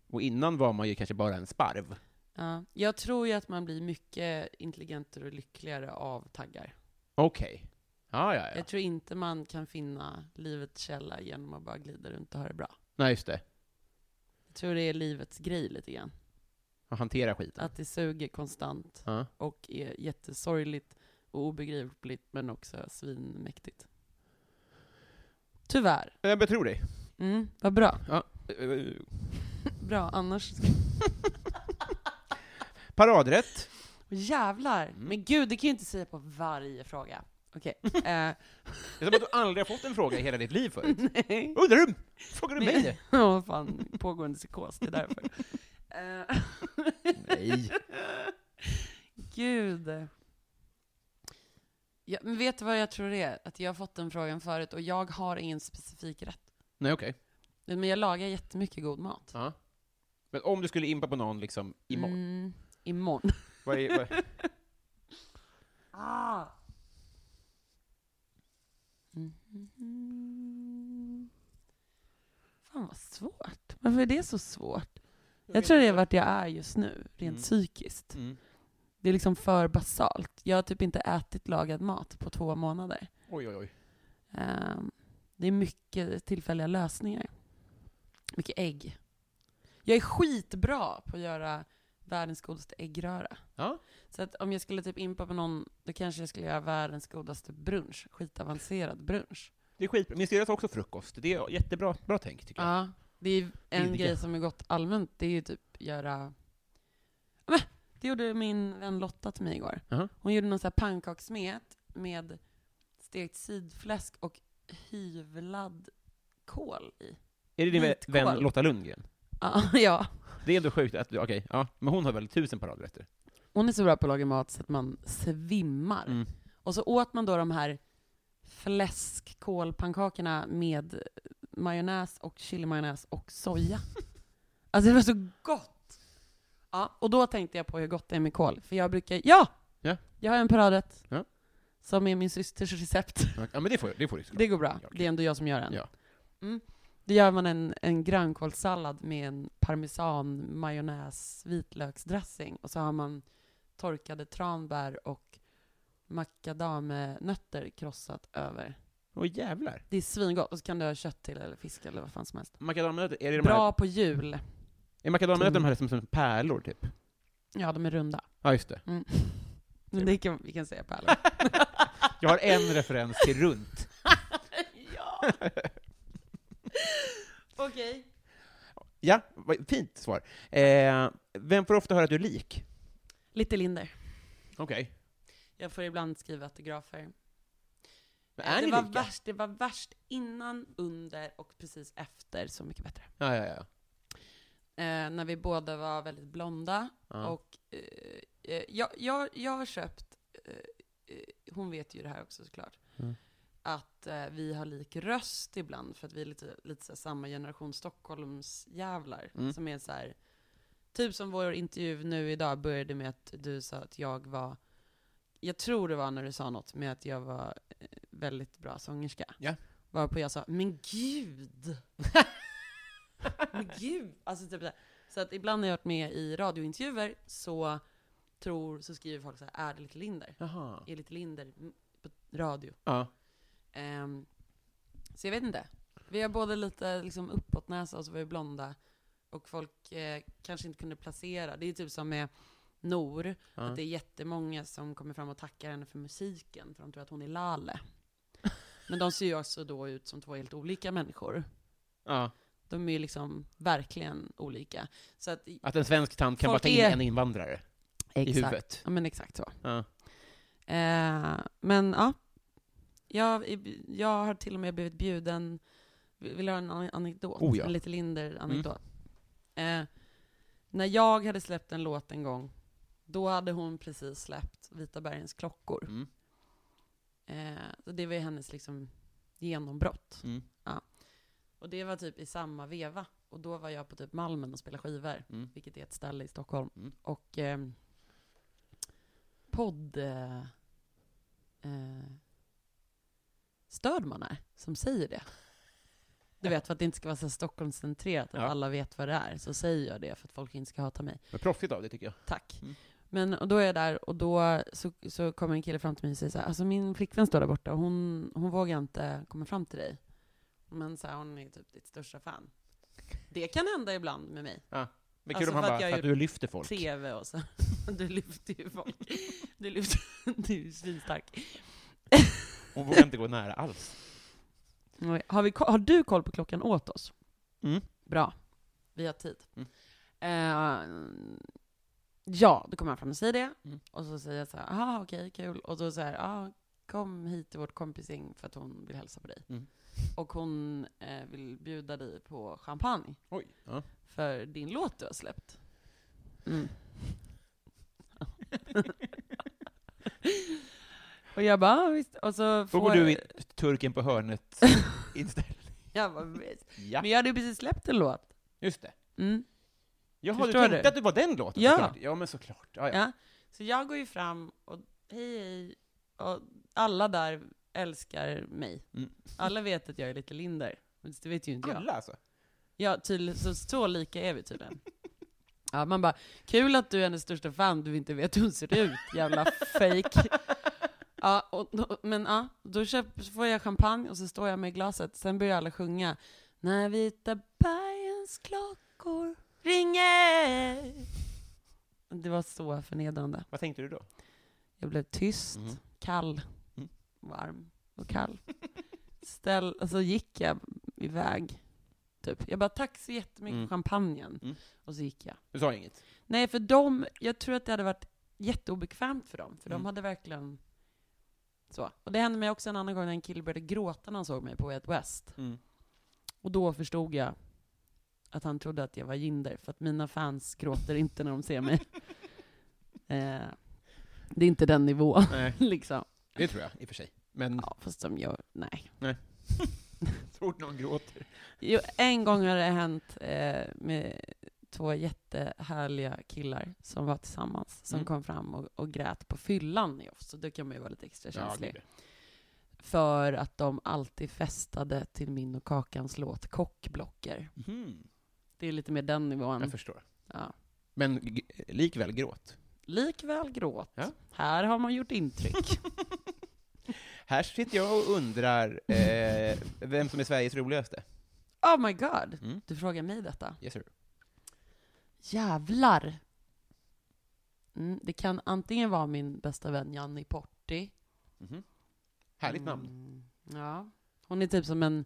[SPEAKER 4] Och innan var man ju kanske bara en sparv.
[SPEAKER 5] ja. Jag tror ju att man blir mycket intelligentare och lyckligare av taggar.
[SPEAKER 4] Okej. Ja, ja, ja.
[SPEAKER 5] Jag tror inte man kan finna livets källa genom att bara glida runt och ha det bra.
[SPEAKER 4] Nej, just det.
[SPEAKER 5] Jag tror det är livets grej lite grann.
[SPEAKER 4] Mm. Att hantera skiten.
[SPEAKER 5] Att det suger konstant
[SPEAKER 4] Ja.
[SPEAKER 5] och är jättesorgligt och obegripligt men också svinmäktigt. Tyvärr.
[SPEAKER 4] Jag betror dig.
[SPEAKER 5] Mm, vad bra.
[SPEAKER 4] Eh,
[SPEAKER 5] Bra, annars...
[SPEAKER 4] Paradrätt.
[SPEAKER 5] Jävlar!
[SPEAKER 4] Mm.
[SPEAKER 5] Men gud, det kan jag inte säga på varje fråga. Okej. eh,
[SPEAKER 4] Det är som att du aldrig har fått en fråga i hela ditt liv förut.
[SPEAKER 5] nej.
[SPEAKER 4] Undrar du? Frågar du mig
[SPEAKER 5] Nej.
[SPEAKER 4] det?
[SPEAKER 5] Ja, vad fan. Pågående psykos, det är därför. Eh,
[SPEAKER 4] Nej.
[SPEAKER 5] Gud. Ja, men vet du vad jag tror det är? Att jag har fått den frågan förut och jag har ingen specifik rätt.
[SPEAKER 4] Nej, okej.
[SPEAKER 5] Men jag lagar jättemycket god mat.
[SPEAKER 4] Ja. Men om du skulle impa på någon liksom imorgon,
[SPEAKER 5] Mm, imorgon.
[SPEAKER 4] vad är, vad är,
[SPEAKER 5] Ah. Mm-hmm. Fan vad svårt. Varför är det så svårt? Jag tror det är vart jag är just nu, rent
[SPEAKER 4] Mm.
[SPEAKER 5] psykiskt.
[SPEAKER 4] mm.
[SPEAKER 5] Det är liksom för basalt. Jag har typ inte ätit lagad mat på två månader.
[SPEAKER 4] Oj, oj, oj.
[SPEAKER 5] Ehm, det är mycket tillfälliga lösningar. Mycket ägg. Jag är skitbra på att göra världens godaste äggröra.
[SPEAKER 4] Ja.
[SPEAKER 5] Så att om jag skulle typ impa på någon, då kanske jag skulle göra världens godaste brunch. Skitavancerad brunch.
[SPEAKER 4] Det är skitbra. Min syrra tar också frukost. Det är jättebra bra tänk, tycker jag.
[SPEAKER 5] Ja, det är en
[SPEAKER 4] Billiga.
[SPEAKER 5] grej som är gott allmänt, det är ju typ göra... Ja, men, Det gjorde min vän Lotta till mig igår.
[SPEAKER 4] Jaha.
[SPEAKER 5] Hon gjorde någon sån här pannkakssmet med stekt sidfläsk och hyvlad kål i.
[SPEAKER 4] Är det din vä-
[SPEAKER 5] vitkål.
[SPEAKER 4] vän Lotta Lundgren?
[SPEAKER 5] Ja, ja.
[SPEAKER 4] Det är ändå sjukt att, okej, ja. Men hon har väl tusen paradrätter?
[SPEAKER 5] Hon är så bra på att laga mat så att man svimmar.
[SPEAKER 4] Mm.
[SPEAKER 5] Och så åt man då de här fläskkålpannkakorna med majonnäs och chilimajonnäs och soja. Alltså det var så gott! Ja, och då tänkte jag på hur gott det är med kål. För jag brukar, ja!
[SPEAKER 4] Ja.
[SPEAKER 5] Jag har en paradrätt.
[SPEAKER 4] Ja.
[SPEAKER 5] Som är min systers recept.
[SPEAKER 4] Ja, men det får, det får du såklart.
[SPEAKER 5] Det går bra.
[SPEAKER 4] Ja, okej.
[SPEAKER 5] Det är ändå jag som gör den.
[SPEAKER 4] Ja.
[SPEAKER 5] Mm. Då gör man en, en grönkålssallad med en parmesan, majonnäs, vitlöksdressing. Och så har man torkade tranbär och macadamenötter krossat över.
[SPEAKER 4] Åh jävlar.
[SPEAKER 5] Det är svingott. Och så kan du ha kött till eller fisk eller vad fan som helst.
[SPEAKER 4] Makadamnötter, är det de
[SPEAKER 5] Bra
[SPEAKER 4] här,
[SPEAKER 5] på jul.
[SPEAKER 4] är makadamnötter de här som, som pärlor typ?
[SPEAKER 5] Ja, de är runda.
[SPEAKER 4] Ja, just det.
[SPEAKER 5] Mm. Men det kan, vi kan säga pärlor.
[SPEAKER 4] Jag har en referens till runt.
[SPEAKER 5] ja! Okej.
[SPEAKER 4] Ja, vad- fint svar. Eh, vem får ofta höra att du är lik?
[SPEAKER 5] Lite Linder.
[SPEAKER 4] Okej.
[SPEAKER 5] Jag får ibland skriva autografer.
[SPEAKER 4] Men är
[SPEAKER 5] det,
[SPEAKER 4] ni
[SPEAKER 5] var
[SPEAKER 4] lika?
[SPEAKER 5] värst, det var värst innan, under och precis efter Så mycket bättre.
[SPEAKER 4] Ja, ja, ja.
[SPEAKER 5] Eh, när vi båda var väldigt blonda.
[SPEAKER 4] ja.
[SPEAKER 5] Och eh, eh, jag, jag, jag har köpt, eh, eh, hon vet ju det här också såklart,
[SPEAKER 4] Mm.
[SPEAKER 5] att eh, vi har lik röst ibland för att vi är lite, lite så här, samma generation Stockholmsjävlar.
[SPEAKER 4] Mm.
[SPEAKER 5] Som är så här, typ som vår intervju nu idag började med att du sa att jag var, jag tror det var när du sa något med att jag var eh, väldigt bra sångerska.
[SPEAKER 4] Ja.
[SPEAKER 5] Varpå jag sa, men gud! men gud! Alltså typ så här. Så att ibland när jag har varit med i radiointervjuer så tror, så skriver folk så här, är det lite Linder?
[SPEAKER 4] Jaha.
[SPEAKER 5] Är lite Linder m- på radio?
[SPEAKER 4] Ja.
[SPEAKER 5] Ehm, så jag vet inte. Vi har både lite liksom uppåtnäsa och så var vi blonda. Och folk eh, kanske inte kunde placera. Det är typ som med Nor,
[SPEAKER 4] ja.
[SPEAKER 5] att det är jättemånga som kommer fram och tackar henne för musiken, för de tror att hon är Lale. Men de ser ju också då ut som två helt olika människor.
[SPEAKER 4] ja.
[SPEAKER 5] De är ju liksom verkligen olika. Så att,
[SPEAKER 4] Att en svensk tant kan
[SPEAKER 5] Folk
[SPEAKER 4] bara ta in
[SPEAKER 5] är-
[SPEAKER 4] en invandrare i huvudet.
[SPEAKER 5] Ja men exakt så.
[SPEAKER 4] Ja.
[SPEAKER 5] Eh, men ja, jag, jag har till och med blivit bjuden, vill du höra en an- anekdot?
[SPEAKER 4] Oh ja.
[SPEAKER 5] En lite Linder-anekdot. Eh, när jag hade släppt en låt en gång, då hade hon precis släppt Vita bergens klockor.
[SPEAKER 4] Mm.
[SPEAKER 5] Eh, så det var ju hennes liksom genombrott.
[SPEAKER 4] Mm.
[SPEAKER 5] Och det var typ i samma veva. Och då var jag på typ Malmen och spelade skivor,
[SPEAKER 4] Mm.
[SPEAKER 5] vilket är ett ställe i Stockholm.
[SPEAKER 4] Mm.
[SPEAKER 5] Och ehm, podd... Eh, eh, Stödman är, som säger det. Du vet, för att det inte ska vara så Stockholmscentrerat, att
[SPEAKER 4] Ja.
[SPEAKER 5] alla vet vad det är, så säger jag det för att folk inte ska hata mig.
[SPEAKER 4] Men proffsigt av det tycker jag.
[SPEAKER 5] Tack.
[SPEAKER 4] Mm.
[SPEAKER 5] Men och då är jag där och då så, så kommer en kille fram till mig och säger så här, alltså min flickvän står där borta och hon, hon vågar inte komma fram till dig. Men så här, hon är typ ditt största fan. Det kan hända ibland med mig.
[SPEAKER 4] Men kul
[SPEAKER 5] Alltså,
[SPEAKER 4] om han
[SPEAKER 5] för att
[SPEAKER 4] bara,
[SPEAKER 5] jag
[SPEAKER 4] för att
[SPEAKER 5] gjort
[SPEAKER 4] du lyfter folk.
[SPEAKER 5] TV och så. Du lyfter ju folk. Du lyfter, du är ju svinstark.
[SPEAKER 4] Hon vågar inte gå nära alls.
[SPEAKER 5] Nej, Har, vi, ko- har du koll på klockan åt oss?
[SPEAKER 4] Mm.
[SPEAKER 5] Bra. Vi har tid. Eh, ja, då kommer han fram och säger det.
[SPEAKER 4] Mm.
[SPEAKER 5] Och så säger jag så här, aha okej, kul. Och då säger ah, kom hit till vårt kompising för att hon vill hälsa på dig.
[SPEAKER 4] Mm.
[SPEAKER 5] Och hon eh, vill bjuda dig på champagne
[SPEAKER 4] Oj. Ja.
[SPEAKER 5] för din låt du har släppt. Mm. och jag bara, ah, visst. Och så
[SPEAKER 4] Då
[SPEAKER 5] får
[SPEAKER 4] går du in, turken på hörnet inställning.
[SPEAKER 5] Jag bara, visst.
[SPEAKER 4] Ja,
[SPEAKER 5] Men jag hade ju precis släppt en låt.
[SPEAKER 4] just det.
[SPEAKER 5] Mm.
[SPEAKER 4] Jaha, du
[SPEAKER 5] Förstår
[SPEAKER 4] tänkte
[SPEAKER 5] du?
[SPEAKER 4] att det var den låten
[SPEAKER 5] Ja.
[SPEAKER 4] såklart. Ja, men såklart. Ja, ja.
[SPEAKER 5] Ja. Så jag går ju fram och hej hej, och alla där älskar mig.
[SPEAKER 4] Mm.
[SPEAKER 5] Alla vet att jag är lite Linder, men det vet ju inte jag.
[SPEAKER 4] Alla alltså.
[SPEAKER 5] Ja, tydligen, så, så lika är vi tydligen. Ja, man bara, kul att du är hennes största fan, du inte vet hur hon ser ut, jävla fake. Ja, och, då- men ja, då köp, så får jag champagne och så står jag med glaset, sen börjar alla sjunga. När vita bergens klockor ringer. Det var så förnedrande.
[SPEAKER 4] Vad tänkte du då?
[SPEAKER 5] Jag blev tyst,
[SPEAKER 4] Mm.
[SPEAKER 5] kall,
[SPEAKER 4] Mm.
[SPEAKER 5] varm och kall. Ställ, och så gick jag iväg. Typ. Jag bara, tack så jättemycket
[SPEAKER 4] Mm.
[SPEAKER 5] för champagnen.
[SPEAKER 4] Mm.
[SPEAKER 5] Och så gick jag.
[SPEAKER 4] Du sa inget?
[SPEAKER 5] Nej, för dem, jag tror att det hade varit jätteobekvämt för dem. För
[SPEAKER 4] Mm.
[SPEAKER 5] de hade verkligen så. Och det hände mig också en annan gång när en kille började gråta när han såg mig på Way Out West.
[SPEAKER 4] Mm.
[SPEAKER 5] Och då förstod jag att han trodde att jag var ginder, för att mina fans gråter inte när de ser mig. eh, det är inte den nivån,
[SPEAKER 4] Nej,
[SPEAKER 5] liksom.
[SPEAKER 4] det tror jag i och för sig. Men
[SPEAKER 5] Ja, fast de gör, nej.
[SPEAKER 4] tror någon gråter.
[SPEAKER 5] Jo, en gång har det hänt eh, med två jättehärliga killar som var tillsammans, som
[SPEAKER 4] Mm.
[SPEAKER 5] kom fram och, och grät på fyllan i oss, så då kan man ju vara lite extra
[SPEAKER 4] Ja,
[SPEAKER 5] känslig.
[SPEAKER 4] gud, ja.
[SPEAKER 5] för att de alltid festade till min och Kakans låt Kockblocker.
[SPEAKER 4] Mhm,
[SPEAKER 5] Det är lite mer den
[SPEAKER 4] Jag
[SPEAKER 5] nivån.
[SPEAKER 4] förstår.
[SPEAKER 5] Mm. Ja.
[SPEAKER 4] Men g- likväl gråt.
[SPEAKER 5] Likväl gråt.
[SPEAKER 4] Ja.
[SPEAKER 5] Här har man gjort intryck.
[SPEAKER 4] Här sitter jag och undrar eh, vem som är Sveriges roligaste.
[SPEAKER 5] oh my god!
[SPEAKER 4] Mm.
[SPEAKER 5] Du frågar mig detta.
[SPEAKER 4] Yes, sir.
[SPEAKER 5] Jävlar! Mm, det kan antingen vara min bästa vän Janni Porti.
[SPEAKER 4] Mhm. Härligt namn.
[SPEAKER 5] Mm-hmm. Mm, ja. Hon är typ som en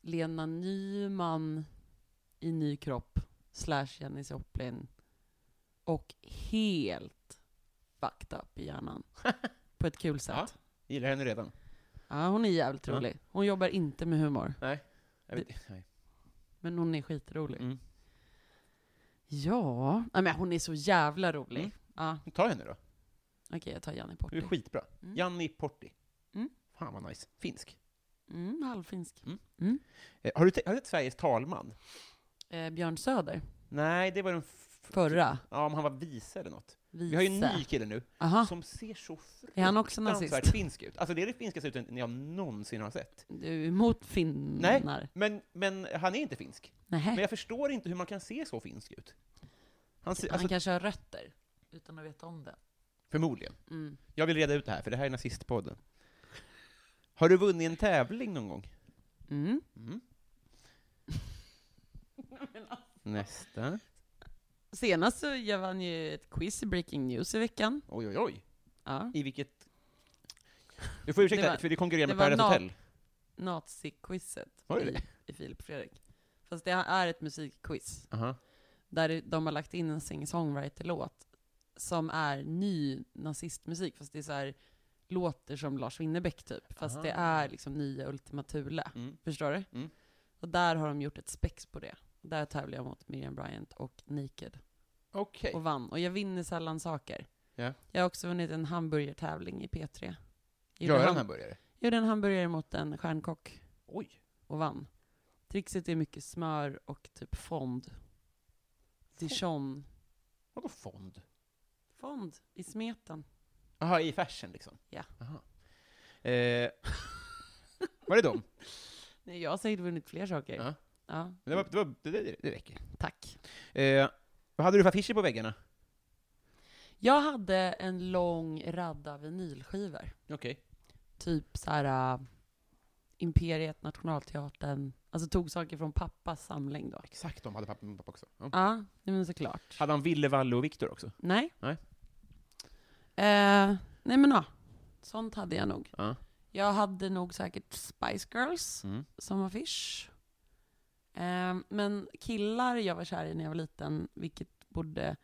[SPEAKER 5] Lena Nyman i ny kropp, slash Jenny Joplin. Och helt fucked up i hjärnan. På ett kul sätt.
[SPEAKER 4] Gillar henne redan.
[SPEAKER 5] Ja, hon är jävligt
[SPEAKER 4] Ja.
[SPEAKER 5] rolig. Hon jobbar inte med humor,
[SPEAKER 4] Jag vet, nej.
[SPEAKER 5] men hon är skitrolig.
[SPEAKER 4] Mm.
[SPEAKER 5] Ja, nej, men hon är så jävla rolig.
[SPEAKER 4] Mm.
[SPEAKER 5] Ja,
[SPEAKER 4] Ta henne då.
[SPEAKER 5] okej, jag tar Janni
[SPEAKER 4] Du är
[SPEAKER 5] Porti.
[SPEAKER 4] skitbra.
[SPEAKER 5] Mm.
[SPEAKER 4] Janni Porti.
[SPEAKER 5] Mm.
[SPEAKER 4] Fan vad nice. Finsk.
[SPEAKER 5] Mm, halvfinsk.
[SPEAKER 4] Eh, har, du te- har du sett Sveriges talman?
[SPEAKER 5] Eh, Björn Söder,
[SPEAKER 4] Nej, det var den f-
[SPEAKER 5] förra.
[SPEAKER 4] Ja, om han var vice eller något.
[SPEAKER 5] Vice.
[SPEAKER 4] Vi har ju en ny kille nu,
[SPEAKER 5] Aha.
[SPEAKER 4] som ser så
[SPEAKER 5] Ah. Är han också nazist?
[SPEAKER 4] fruktansvärt finsk ut. Alltså det är det finskaste uttrycket jag någonsin har sett.
[SPEAKER 5] Du är emot finnar?
[SPEAKER 4] Men, men han är inte finsk. Men
[SPEAKER 5] Nej.
[SPEAKER 4] jag förstår inte hur man kan se så finsk ut. Han ser, alltså,
[SPEAKER 5] Han kanske har rötter, utan att veta om det.
[SPEAKER 4] Förmodligen.
[SPEAKER 5] Mm.
[SPEAKER 4] Jag vill reda ut det här, för det här är nazistpodden. Har du vunnit en tävling någon gång?
[SPEAKER 5] Mm.
[SPEAKER 4] Mm. Nästa.
[SPEAKER 5] Senast så jag vann ju ett quiz i Breaking News i veckan.
[SPEAKER 4] Oj, oj, oj.
[SPEAKER 5] Ja.
[SPEAKER 4] I vilket... Du får ursäkta,
[SPEAKER 5] Det var-
[SPEAKER 4] för det konkurrerar
[SPEAKER 5] det
[SPEAKER 4] med
[SPEAKER 5] var
[SPEAKER 4] Paradise
[SPEAKER 5] na-
[SPEAKER 4] Hotel.
[SPEAKER 5] Nazi-quizet
[SPEAKER 4] Var det
[SPEAKER 5] i, i Filip och Fredrik. Fast det är ett musikquiz,
[SPEAKER 4] Aha.
[SPEAKER 5] där det- de har lagt in en singer-songwriter-låt som är ny nazistmusik, fast det är så här, låter som Lars Winnerbäck typ. Fast det
[SPEAKER 4] Ah.
[SPEAKER 5] är liksom nya Ultima Thule.
[SPEAKER 4] Mm.
[SPEAKER 5] Förstår du?
[SPEAKER 4] Mm.
[SPEAKER 5] Och där har de gjort ett spex på det. Där tävlar jag mot Miriam Bryant och Naked.
[SPEAKER 4] Okej.
[SPEAKER 5] och vann. Och jag vinner sällan saker.
[SPEAKER 4] Ja.
[SPEAKER 5] Jag har också vunnit en hamburgertävling i P3. Gjorde
[SPEAKER 4] Göran
[SPEAKER 5] ham-
[SPEAKER 4] hamburgare?
[SPEAKER 5] Gjorde en hamburgare mot en stjärnkock
[SPEAKER 4] Oj.
[SPEAKER 5] och vann. Trixet är mycket smör och typ fond. Dijon.
[SPEAKER 4] Vadå fond?
[SPEAKER 5] Fond i smeten.
[SPEAKER 4] Jaha, i färsen liksom?
[SPEAKER 5] Ja.
[SPEAKER 4] Aha. Eh, var det dem?
[SPEAKER 5] Nej, jag har säkert vunnit fler saker.
[SPEAKER 4] Ja.
[SPEAKER 5] Ja,
[SPEAKER 4] Det, var, det, var, det, det, det räcker.
[SPEAKER 5] tack.
[SPEAKER 4] Eh, vad hade du för affischer på väggarna?
[SPEAKER 5] Jag hade en lång radda vinylskivor.
[SPEAKER 4] Okej.
[SPEAKER 5] Typ så här äh, Imperiet, Nationalteatern. Alltså tog saker från pappas samling då.
[SPEAKER 4] Exakt de hade pappa, min pappa också. Ja.
[SPEAKER 5] Ja, nej, men såklart.
[SPEAKER 4] Hade han Ville, Valle och Viktor också?
[SPEAKER 5] Nej.
[SPEAKER 4] Nej.
[SPEAKER 5] Eh, nej men ja, sånt hade jag nog.
[SPEAKER 4] Ja.
[SPEAKER 5] Jag hade nog säkert Spice Girls
[SPEAKER 4] Mm.
[SPEAKER 5] som affisch. Ehm, men killar jag var kär i när jag var liten, vilket borde...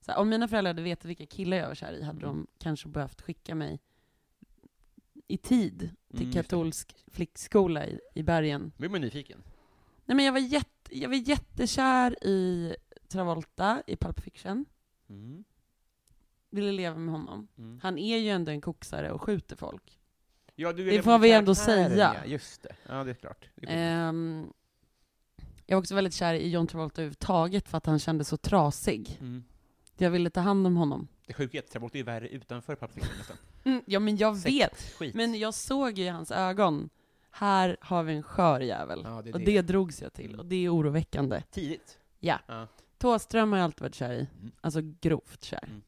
[SPEAKER 5] Så här, om mina föräldrar hade vetat vilka killar jag var kär i hade
[SPEAKER 4] Mm.
[SPEAKER 5] de kanske behövt skicka mig i tid till
[SPEAKER 4] Mm, just det.
[SPEAKER 5] katolsk flickskola i, i bergen.
[SPEAKER 4] Nu blir man nyfiken.
[SPEAKER 5] Nej men jag var, jätte, jag var jättekär i Travolta i Pulp Fiction.
[SPEAKER 4] Mm.
[SPEAKER 5] Ville leva med honom.
[SPEAKER 4] Mm.
[SPEAKER 5] Han är ju ändå en koksare och skjuter folk.
[SPEAKER 4] Ja, du är
[SPEAKER 5] Det
[SPEAKER 4] den
[SPEAKER 5] får vi ändå
[SPEAKER 4] karaktären,
[SPEAKER 5] säga.
[SPEAKER 4] Ja, just det. Ja, det är klart. Det är klart.
[SPEAKER 5] Ehm, jag var också väldigt kär i John Travolta överhuvudtaget för att han kändes så trasig.
[SPEAKER 4] Mm.
[SPEAKER 5] Jag ville ta hand om honom.
[SPEAKER 4] Det sjuka är att Travolta är värre utanför Pulp Fiction nästan.
[SPEAKER 5] Mm, ja men jag
[SPEAKER 4] Sex,
[SPEAKER 5] vet.
[SPEAKER 4] Skit.
[SPEAKER 5] Men jag såg ju i hans ögon, här har vi en skör jävel.
[SPEAKER 4] Ja, det är
[SPEAKER 5] och
[SPEAKER 4] det.
[SPEAKER 5] det drogs jag till, och det är oroväckande.
[SPEAKER 4] Tidigt.
[SPEAKER 5] Thåström har jag alltid varit kär i.
[SPEAKER 4] Mm.
[SPEAKER 5] Alltså grovt kär.
[SPEAKER 4] Mm.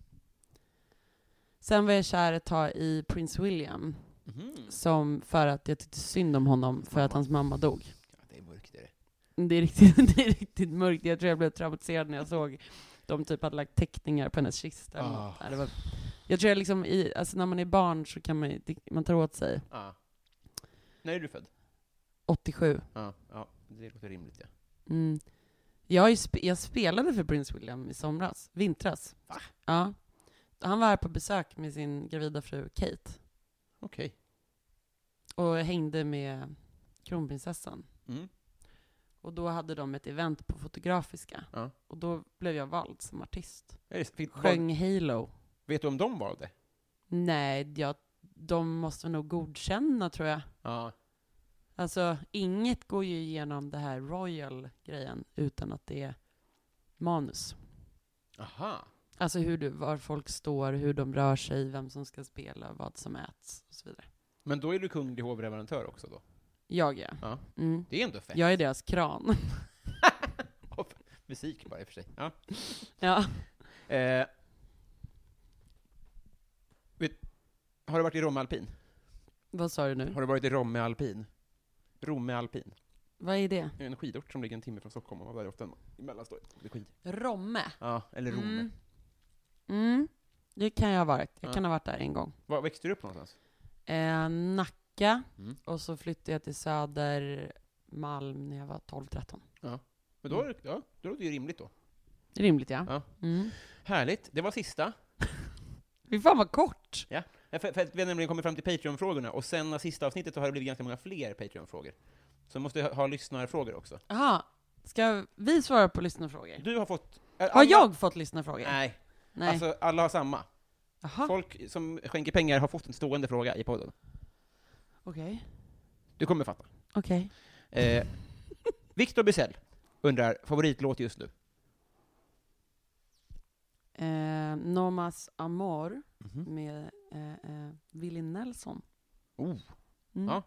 [SPEAKER 5] Sen var jag kär ett tag i Prince William,
[SPEAKER 4] Mhm.
[SPEAKER 5] som för att jag tyckte synd om honom för att
[SPEAKER 4] Mamma.
[SPEAKER 5] hans mamma dog.
[SPEAKER 4] Ja, det är mörkt det är det.
[SPEAKER 5] Det är riktigt, det är riktigt mörkt, jag tror jag blev traumatiserad när jag såg de typ hade lagt teckningar på hennes kista. eller något.
[SPEAKER 4] Ah.
[SPEAKER 5] Nej, Det var, jag tror jag liksom, i, alltså när man är barn så kan man, ju- det- man tar åt sig.
[SPEAKER 4] Ja. När är du född?
[SPEAKER 5] 87.
[SPEAKER 4] Ja, ja det låter rimligt ja.
[SPEAKER 5] Mm. Jag, har ju sp- jag spelade för Prince William i somras, vintras.
[SPEAKER 4] Va?
[SPEAKER 5] Ja. Han var här på besök med sin gravida fru Kate
[SPEAKER 4] Okej.
[SPEAKER 5] och hängde med kronprinsessan.
[SPEAKER 4] Mm.
[SPEAKER 5] Och då hade de ett event på Fotografiska.
[SPEAKER 4] Ja.
[SPEAKER 5] Och då blev jag vald som artist.
[SPEAKER 4] Är det- fick-
[SPEAKER 5] Sjöng Halo.
[SPEAKER 4] Vet du om de valde?
[SPEAKER 5] Nej, jag, de måste nog godkänna tror jag.
[SPEAKER 4] Ja.
[SPEAKER 5] Alltså, inget går ju igenom det här royal-grejen utan att det är manus.
[SPEAKER 4] Aha.
[SPEAKER 5] Alltså hur du, var folk står, hur de rör sig, vem som ska spela, vad som äts och så vidare.
[SPEAKER 4] Men då är du kunglig hovleverantör också då?
[SPEAKER 5] Jag ja.
[SPEAKER 4] Ja.
[SPEAKER 5] Mm.
[SPEAKER 4] Det är ändå fett.
[SPEAKER 5] Jag är deras kran.
[SPEAKER 4] Och Musik bara i och för sig. Ja.
[SPEAKER 5] ja.
[SPEAKER 4] Eh, vet, har du varit i Romme alpin?
[SPEAKER 5] Mm. Vad sa du nu?
[SPEAKER 4] Har du varit i Romme alpin? Romme alpin.
[SPEAKER 5] Vad är det?
[SPEAKER 4] Det är en skidort som ligger en timme från Stockholm och var där ofta i mellanstadiet. Det är skid.
[SPEAKER 5] Romme.
[SPEAKER 4] Ja, eller Romme.
[SPEAKER 5] Ah. Mm. Mm. Det kan jag ha varit. Jag
[SPEAKER 4] Ja.
[SPEAKER 5] kan ha varit där en gång.
[SPEAKER 4] Var växte du upp någonstans?
[SPEAKER 5] Eh, Nacka.
[SPEAKER 4] Mm.
[SPEAKER 5] Och så flyttade jag till Södermalm när jag var 12-13.
[SPEAKER 4] Men då, mm. ja, då låter det ju rimligt då.
[SPEAKER 5] Det är Rimligt ja.
[SPEAKER 4] Ja.
[SPEAKER 5] Mm.
[SPEAKER 4] Härligt, det var sista.
[SPEAKER 5] Fy fan vad kort!
[SPEAKER 4] Ja, för, för att vi har nämligen kommit fram till Patreon-frågorna, och sen när sista avsnittet så har det blivit ganska många fler Patreon-frågor. Så måste jag ha, ha lyssnarfrågor också.
[SPEAKER 5] Jaha, ska vi svara på lyssnarfrågor?
[SPEAKER 4] Du har fått... är
[SPEAKER 5] Har
[SPEAKER 4] alla-
[SPEAKER 5] jag fått lyssnarfrågor?
[SPEAKER 4] Nej,
[SPEAKER 5] Nej.
[SPEAKER 4] alltså alla har samma.
[SPEAKER 5] Jaha,
[SPEAKER 4] Folk som skänker pengar har fått en stående fråga i podden.
[SPEAKER 5] okej.
[SPEAKER 4] Du kommer fatta.
[SPEAKER 5] Okej.
[SPEAKER 4] Eh, Victor Bysell undrar, favoritlåt just nu?
[SPEAKER 5] Eh, Nomas Amor med eh, eh, Willie Nelson.
[SPEAKER 4] Oh,
[SPEAKER 5] Mm.
[SPEAKER 4] Ja.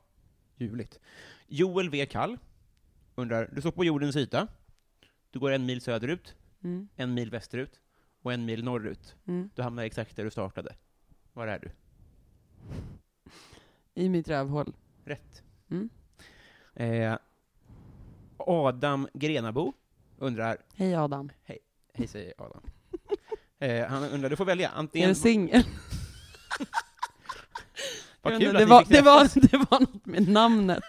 [SPEAKER 4] ljuvligt. Joel V. Kall undrar, du står på jordens yta, du går en mil söderut,
[SPEAKER 5] Mm.
[SPEAKER 4] en mil västerut och en mil norrut.
[SPEAKER 5] Mm.
[SPEAKER 4] Du hamnar exakt där du startade. Var är du?
[SPEAKER 5] I mitt rövhål.
[SPEAKER 4] Rätt.
[SPEAKER 5] Mm.
[SPEAKER 4] Eh, Adam Grenabo undrar,
[SPEAKER 5] Hej Adam.
[SPEAKER 4] hej säger Adam. Eh, han undrar, du får välja
[SPEAKER 5] är
[SPEAKER 4] antingen...
[SPEAKER 5] du singel?
[SPEAKER 4] Vad kul att
[SPEAKER 5] det,
[SPEAKER 4] vi
[SPEAKER 5] var,
[SPEAKER 4] fick träffas.
[SPEAKER 5] det, var, det var något med namnet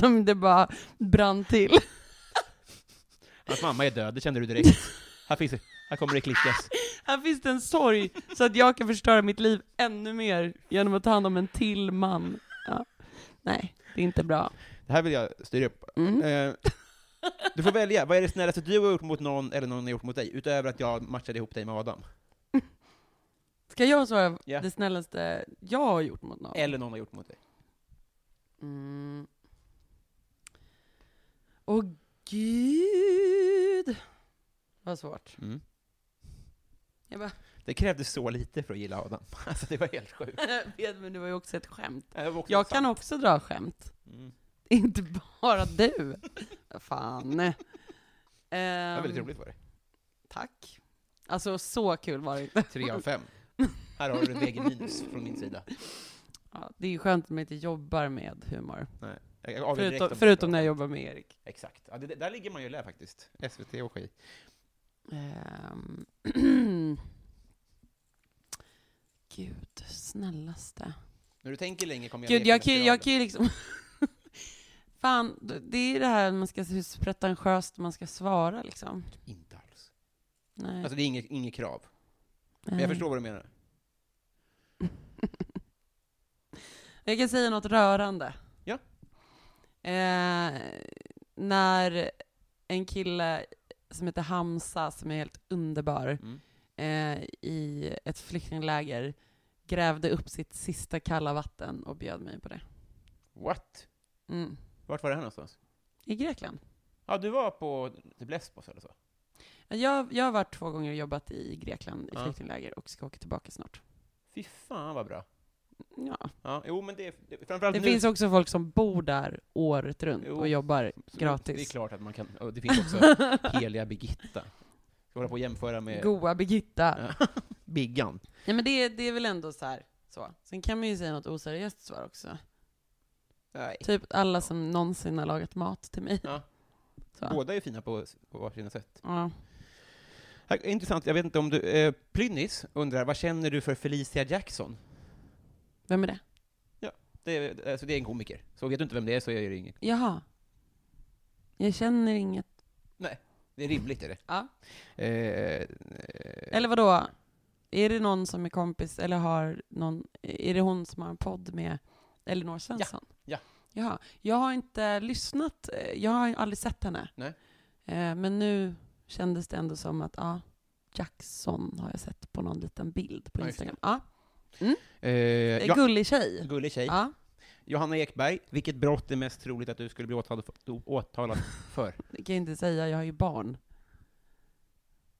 [SPEAKER 5] som det bara brann till.
[SPEAKER 4] Hans mamma är död, det kände du direkt. Här, finns det, här kommer det klickas.
[SPEAKER 5] Här finns det en sorg så att jag kan förstöra mitt liv ännu mer genom att ta hand om en till man. Ja. Nej, det är inte bra.
[SPEAKER 4] Det här vill jag styra upp.
[SPEAKER 5] Mm.
[SPEAKER 4] Eh, du får välja, vad är det snällaste du har gjort mot någon eller någon har gjort mot dig, utöver att jag matchade ihop dig med Adam?
[SPEAKER 5] Ska jag svara
[SPEAKER 4] Ja.
[SPEAKER 5] det snällaste jag har gjort mot någon?
[SPEAKER 4] Eller någon har gjort mot dig.
[SPEAKER 5] Mm. Åh gud! Vad svårt.
[SPEAKER 4] Mm.
[SPEAKER 5] Jag bara,
[SPEAKER 4] Det krävdes så lite för att gilla Adam. Alltså det var helt sjukt.
[SPEAKER 5] jag vet men det var ju också ett skämt.
[SPEAKER 4] Det var också
[SPEAKER 5] Jag kan
[SPEAKER 4] sant.
[SPEAKER 5] också dra skämt.
[SPEAKER 4] Mm.
[SPEAKER 5] Det är Inte bara du. Fan. Um,
[SPEAKER 4] Det var väldigt roligt var det.
[SPEAKER 5] Tack. Alltså så kul var det inte.
[SPEAKER 4] Tre av fem. Här har du en väg minus från min sida.
[SPEAKER 5] Ja, det är ju skönt att man inte jobbar med humor.
[SPEAKER 4] Jag avgör direkt om det är
[SPEAKER 5] Förutom, förutom
[SPEAKER 4] bra.
[SPEAKER 5] när jag jobbar med Erik.
[SPEAKER 4] Exakt. Ja, det, det- där ligger man ju lä faktiskt. SVT och skit.
[SPEAKER 5] Ehm. Gud, snällaste.
[SPEAKER 4] När du tänker länge kommer jag
[SPEAKER 5] Gud,
[SPEAKER 4] leka
[SPEAKER 5] jag
[SPEAKER 4] med
[SPEAKER 5] kan, ju-
[SPEAKER 4] spiralen.
[SPEAKER 5] jag kan ju liksom... Fan, d- det är det här man ska, hur pretentiöst man ska svara liksom.
[SPEAKER 4] Inte alls.
[SPEAKER 5] Nej.
[SPEAKER 4] Alltså det är inget, inget krav. Men
[SPEAKER 5] nej.
[SPEAKER 4] jag förstår vad du menar.
[SPEAKER 5] Jag kan säga något rörande.
[SPEAKER 4] Ja.
[SPEAKER 5] Eh, när en kille som heter Hamza, som är helt underbar,
[SPEAKER 4] Mm.
[SPEAKER 5] eh, i ett flyktingläger grävde upp sitt sista kalla vatten och bjöd mig på det.
[SPEAKER 4] What?
[SPEAKER 5] Mm.
[SPEAKER 4] Vart var det här någonstans?
[SPEAKER 5] I Grekland.
[SPEAKER 4] Ja, du var på The Lesbos eller så?
[SPEAKER 5] Jag, jag har varit två gånger och jobbat i Grekland i
[SPEAKER 4] Ja.
[SPEAKER 5] flyktingläger och ska åka tillbaka snart.
[SPEAKER 4] Fy fan vad bra.
[SPEAKER 5] Ja.
[SPEAKER 4] Ja, jo men det, det framförallt
[SPEAKER 5] Det
[SPEAKER 4] Alltså, nu.
[SPEAKER 5] finns också folk som bor där året runt
[SPEAKER 4] Jo.
[SPEAKER 5] och jobbar
[SPEAKER 4] så-
[SPEAKER 5] gratis.
[SPEAKER 4] Det är klart att man kan, och det finns också heliga Birgitta. Ska hålla på och jämföra med
[SPEAKER 5] Goa Birgitta.
[SPEAKER 4] Biggan.
[SPEAKER 5] Nej men det, det är väl ändå så här. Så. Sen kan man ju säga något oseriöst svar också.
[SPEAKER 4] Nej.
[SPEAKER 5] Typ alla som någonsin har lagat mat till mig.
[SPEAKER 4] Ja.
[SPEAKER 5] Så.
[SPEAKER 4] Båda är fina på, på varsina sätt.
[SPEAKER 5] Ja.
[SPEAKER 4] Här, Intressant, jag vet inte om du... Eh, Plynnis undrar, vad känner du för Felicia Jackson?
[SPEAKER 5] Vem är det?
[SPEAKER 4] Det är, alltså det är en komiker. Så vet du inte vem det är så är det ingen...
[SPEAKER 5] Jaha. Jag känner inget.
[SPEAKER 4] Det är rimligt är det.
[SPEAKER 5] Ja.
[SPEAKER 4] Eh,
[SPEAKER 5] Eller vadå? Är det någon som är kompis eller har någon, är det hon som har en podd med Elinor Svensson?
[SPEAKER 4] Ja.
[SPEAKER 5] Jaha. Jag har inte lyssnat, eh, jag har aldrig sett henne.
[SPEAKER 4] Nej.
[SPEAKER 5] Eh, Men nu kändes det ändå som att, ja, Jackson har jag sett på någon liten bild på
[SPEAKER 4] Ja, just det.
[SPEAKER 5] Instagram. Ja,
[SPEAKER 4] eh,
[SPEAKER 5] Eh,
[SPEAKER 4] ja,
[SPEAKER 5] Gullig tjej.
[SPEAKER 4] gullig tjej.
[SPEAKER 5] Ja,
[SPEAKER 4] Johanna Ekberg, vilket brott är mest troligt att du skulle bli åtalad för? Åtalad för?
[SPEAKER 5] det kan jag inte säga, jag har ju barn.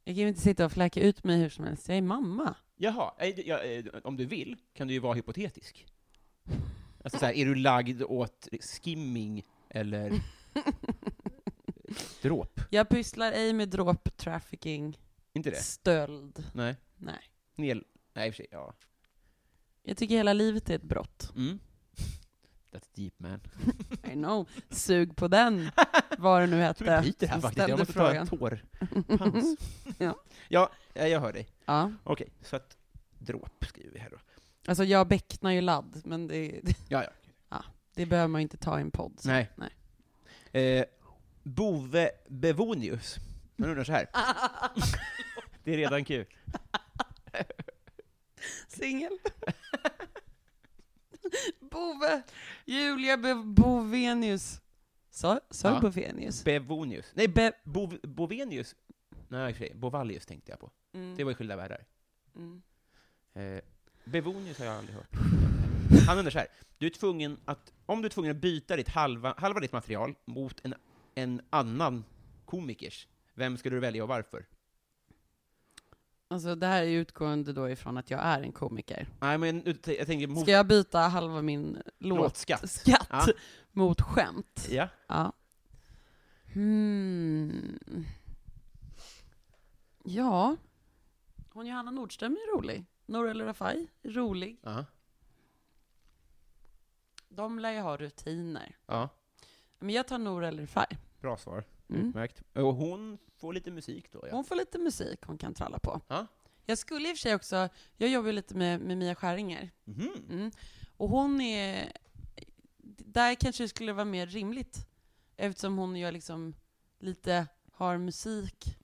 [SPEAKER 5] Jag kan ju inte sitta och fläka ut mig hur som helst, jag är mamma.
[SPEAKER 4] Jaha, eh, d- ja, eh, om du vill kan du ju vara hypotetisk. Alltså så här, är du lagd åt skimming eller dråp?
[SPEAKER 5] Jag pysslar ej med dråp, trafficking,
[SPEAKER 4] Inte det?
[SPEAKER 5] stöld.
[SPEAKER 4] Nej.
[SPEAKER 5] Nej.
[SPEAKER 4] Nel... Nej, i och för sig, ja.
[SPEAKER 5] Jag tycker hela livet är ett brott.
[SPEAKER 4] Mm. That's deep man.
[SPEAKER 5] I know. Sug på den, vad det nu
[SPEAKER 4] Jag tror vi
[SPEAKER 5] hette.
[SPEAKER 4] bryter här
[SPEAKER 5] som
[SPEAKER 4] faktiskt, jag
[SPEAKER 5] ställde
[SPEAKER 4] måste
[SPEAKER 5] frågan.
[SPEAKER 4] ta en tårpans.
[SPEAKER 5] Ja.
[SPEAKER 4] ja, eh, jag hör dig.
[SPEAKER 5] Ja.
[SPEAKER 4] Okej, så att dråp skriver vi här då.
[SPEAKER 5] Alltså jag bäcknar ju ladd, men det,
[SPEAKER 4] Ja, ja.
[SPEAKER 5] det behöver man ju inte ta i en podd. så.
[SPEAKER 4] Nej.
[SPEAKER 5] Alltså, Nej.
[SPEAKER 4] Eh, Bove Bevonius. Man undrar så här.
[SPEAKER 5] Ah.
[SPEAKER 4] det är redan kul.
[SPEAKER 5] Singel. Bove. Julia Be- Bovenius. Sa sa
[SPEAKER 4] Ja.
[SPEAKER 5] jag Bovenius?
[SPEAKER 4] Bevonius. Nej,
[SPEAKER 5] Be-
[SPEAKER 4] Bov Bovenius. Nej, i och för sig, Bovallius tänkte jag på.
[SPEAKER 5] Mm.
[SPEAKER 4] Det var ju skilda världar.
[SPEAKER 5] Mm.
[SPEAKER 4] Eh, Bevonius har jag aldrig hört. Han undrar så här. Du är tvungen att, om du är tvungen att byta ditt halva, halva ditt material mot en, en annan komikers, vem skulle du välja och varför?
[SPEAKER 5] Alltså det här är ju utgående då ifrån att jag är en komiker.
[SPEAKER 4] Nej, men ut- jag tänker mot
[SPEAKER 5] Ska jag byta halva min låtskatt
[SPEAKER 4] låtskatt. Ja.
[SPEAKER 5] mot skämt?
[SPEAKER 4] Ja.
[SPEAKER 5] Ja. Hmm. Ja. Hon Johanna Nordström är rolig. Norelle Rafai, är rolig.
[SPEAKER 4] Ja.
[SPEAKER 5] De lär ju ha rutiner.
[SPEAKER 4] ja.
[SPEAKER 5] Men jag tar Norelle Rafai.
[SPEAKER 4] Bra svar.
[SPEAKER 5] Mm.
[SPEAKER 4] Utmärkt. Och hon får lite musik då, ja.
[SPEAKER 5] Hon får lite musik hon kan tralla på.
[SPEAKER 4] Ja.
[SPEAKER 5] Jag skulle i och för sig också, jag jobbar ju lite med, med Mia Skäringer.
[SPEAKER 4] Mhm.
[SPEAKER 5] Mm. Och hon är, där kanske det skulle vara mer rimligt. Eftersom hon gör liksom lite, har musik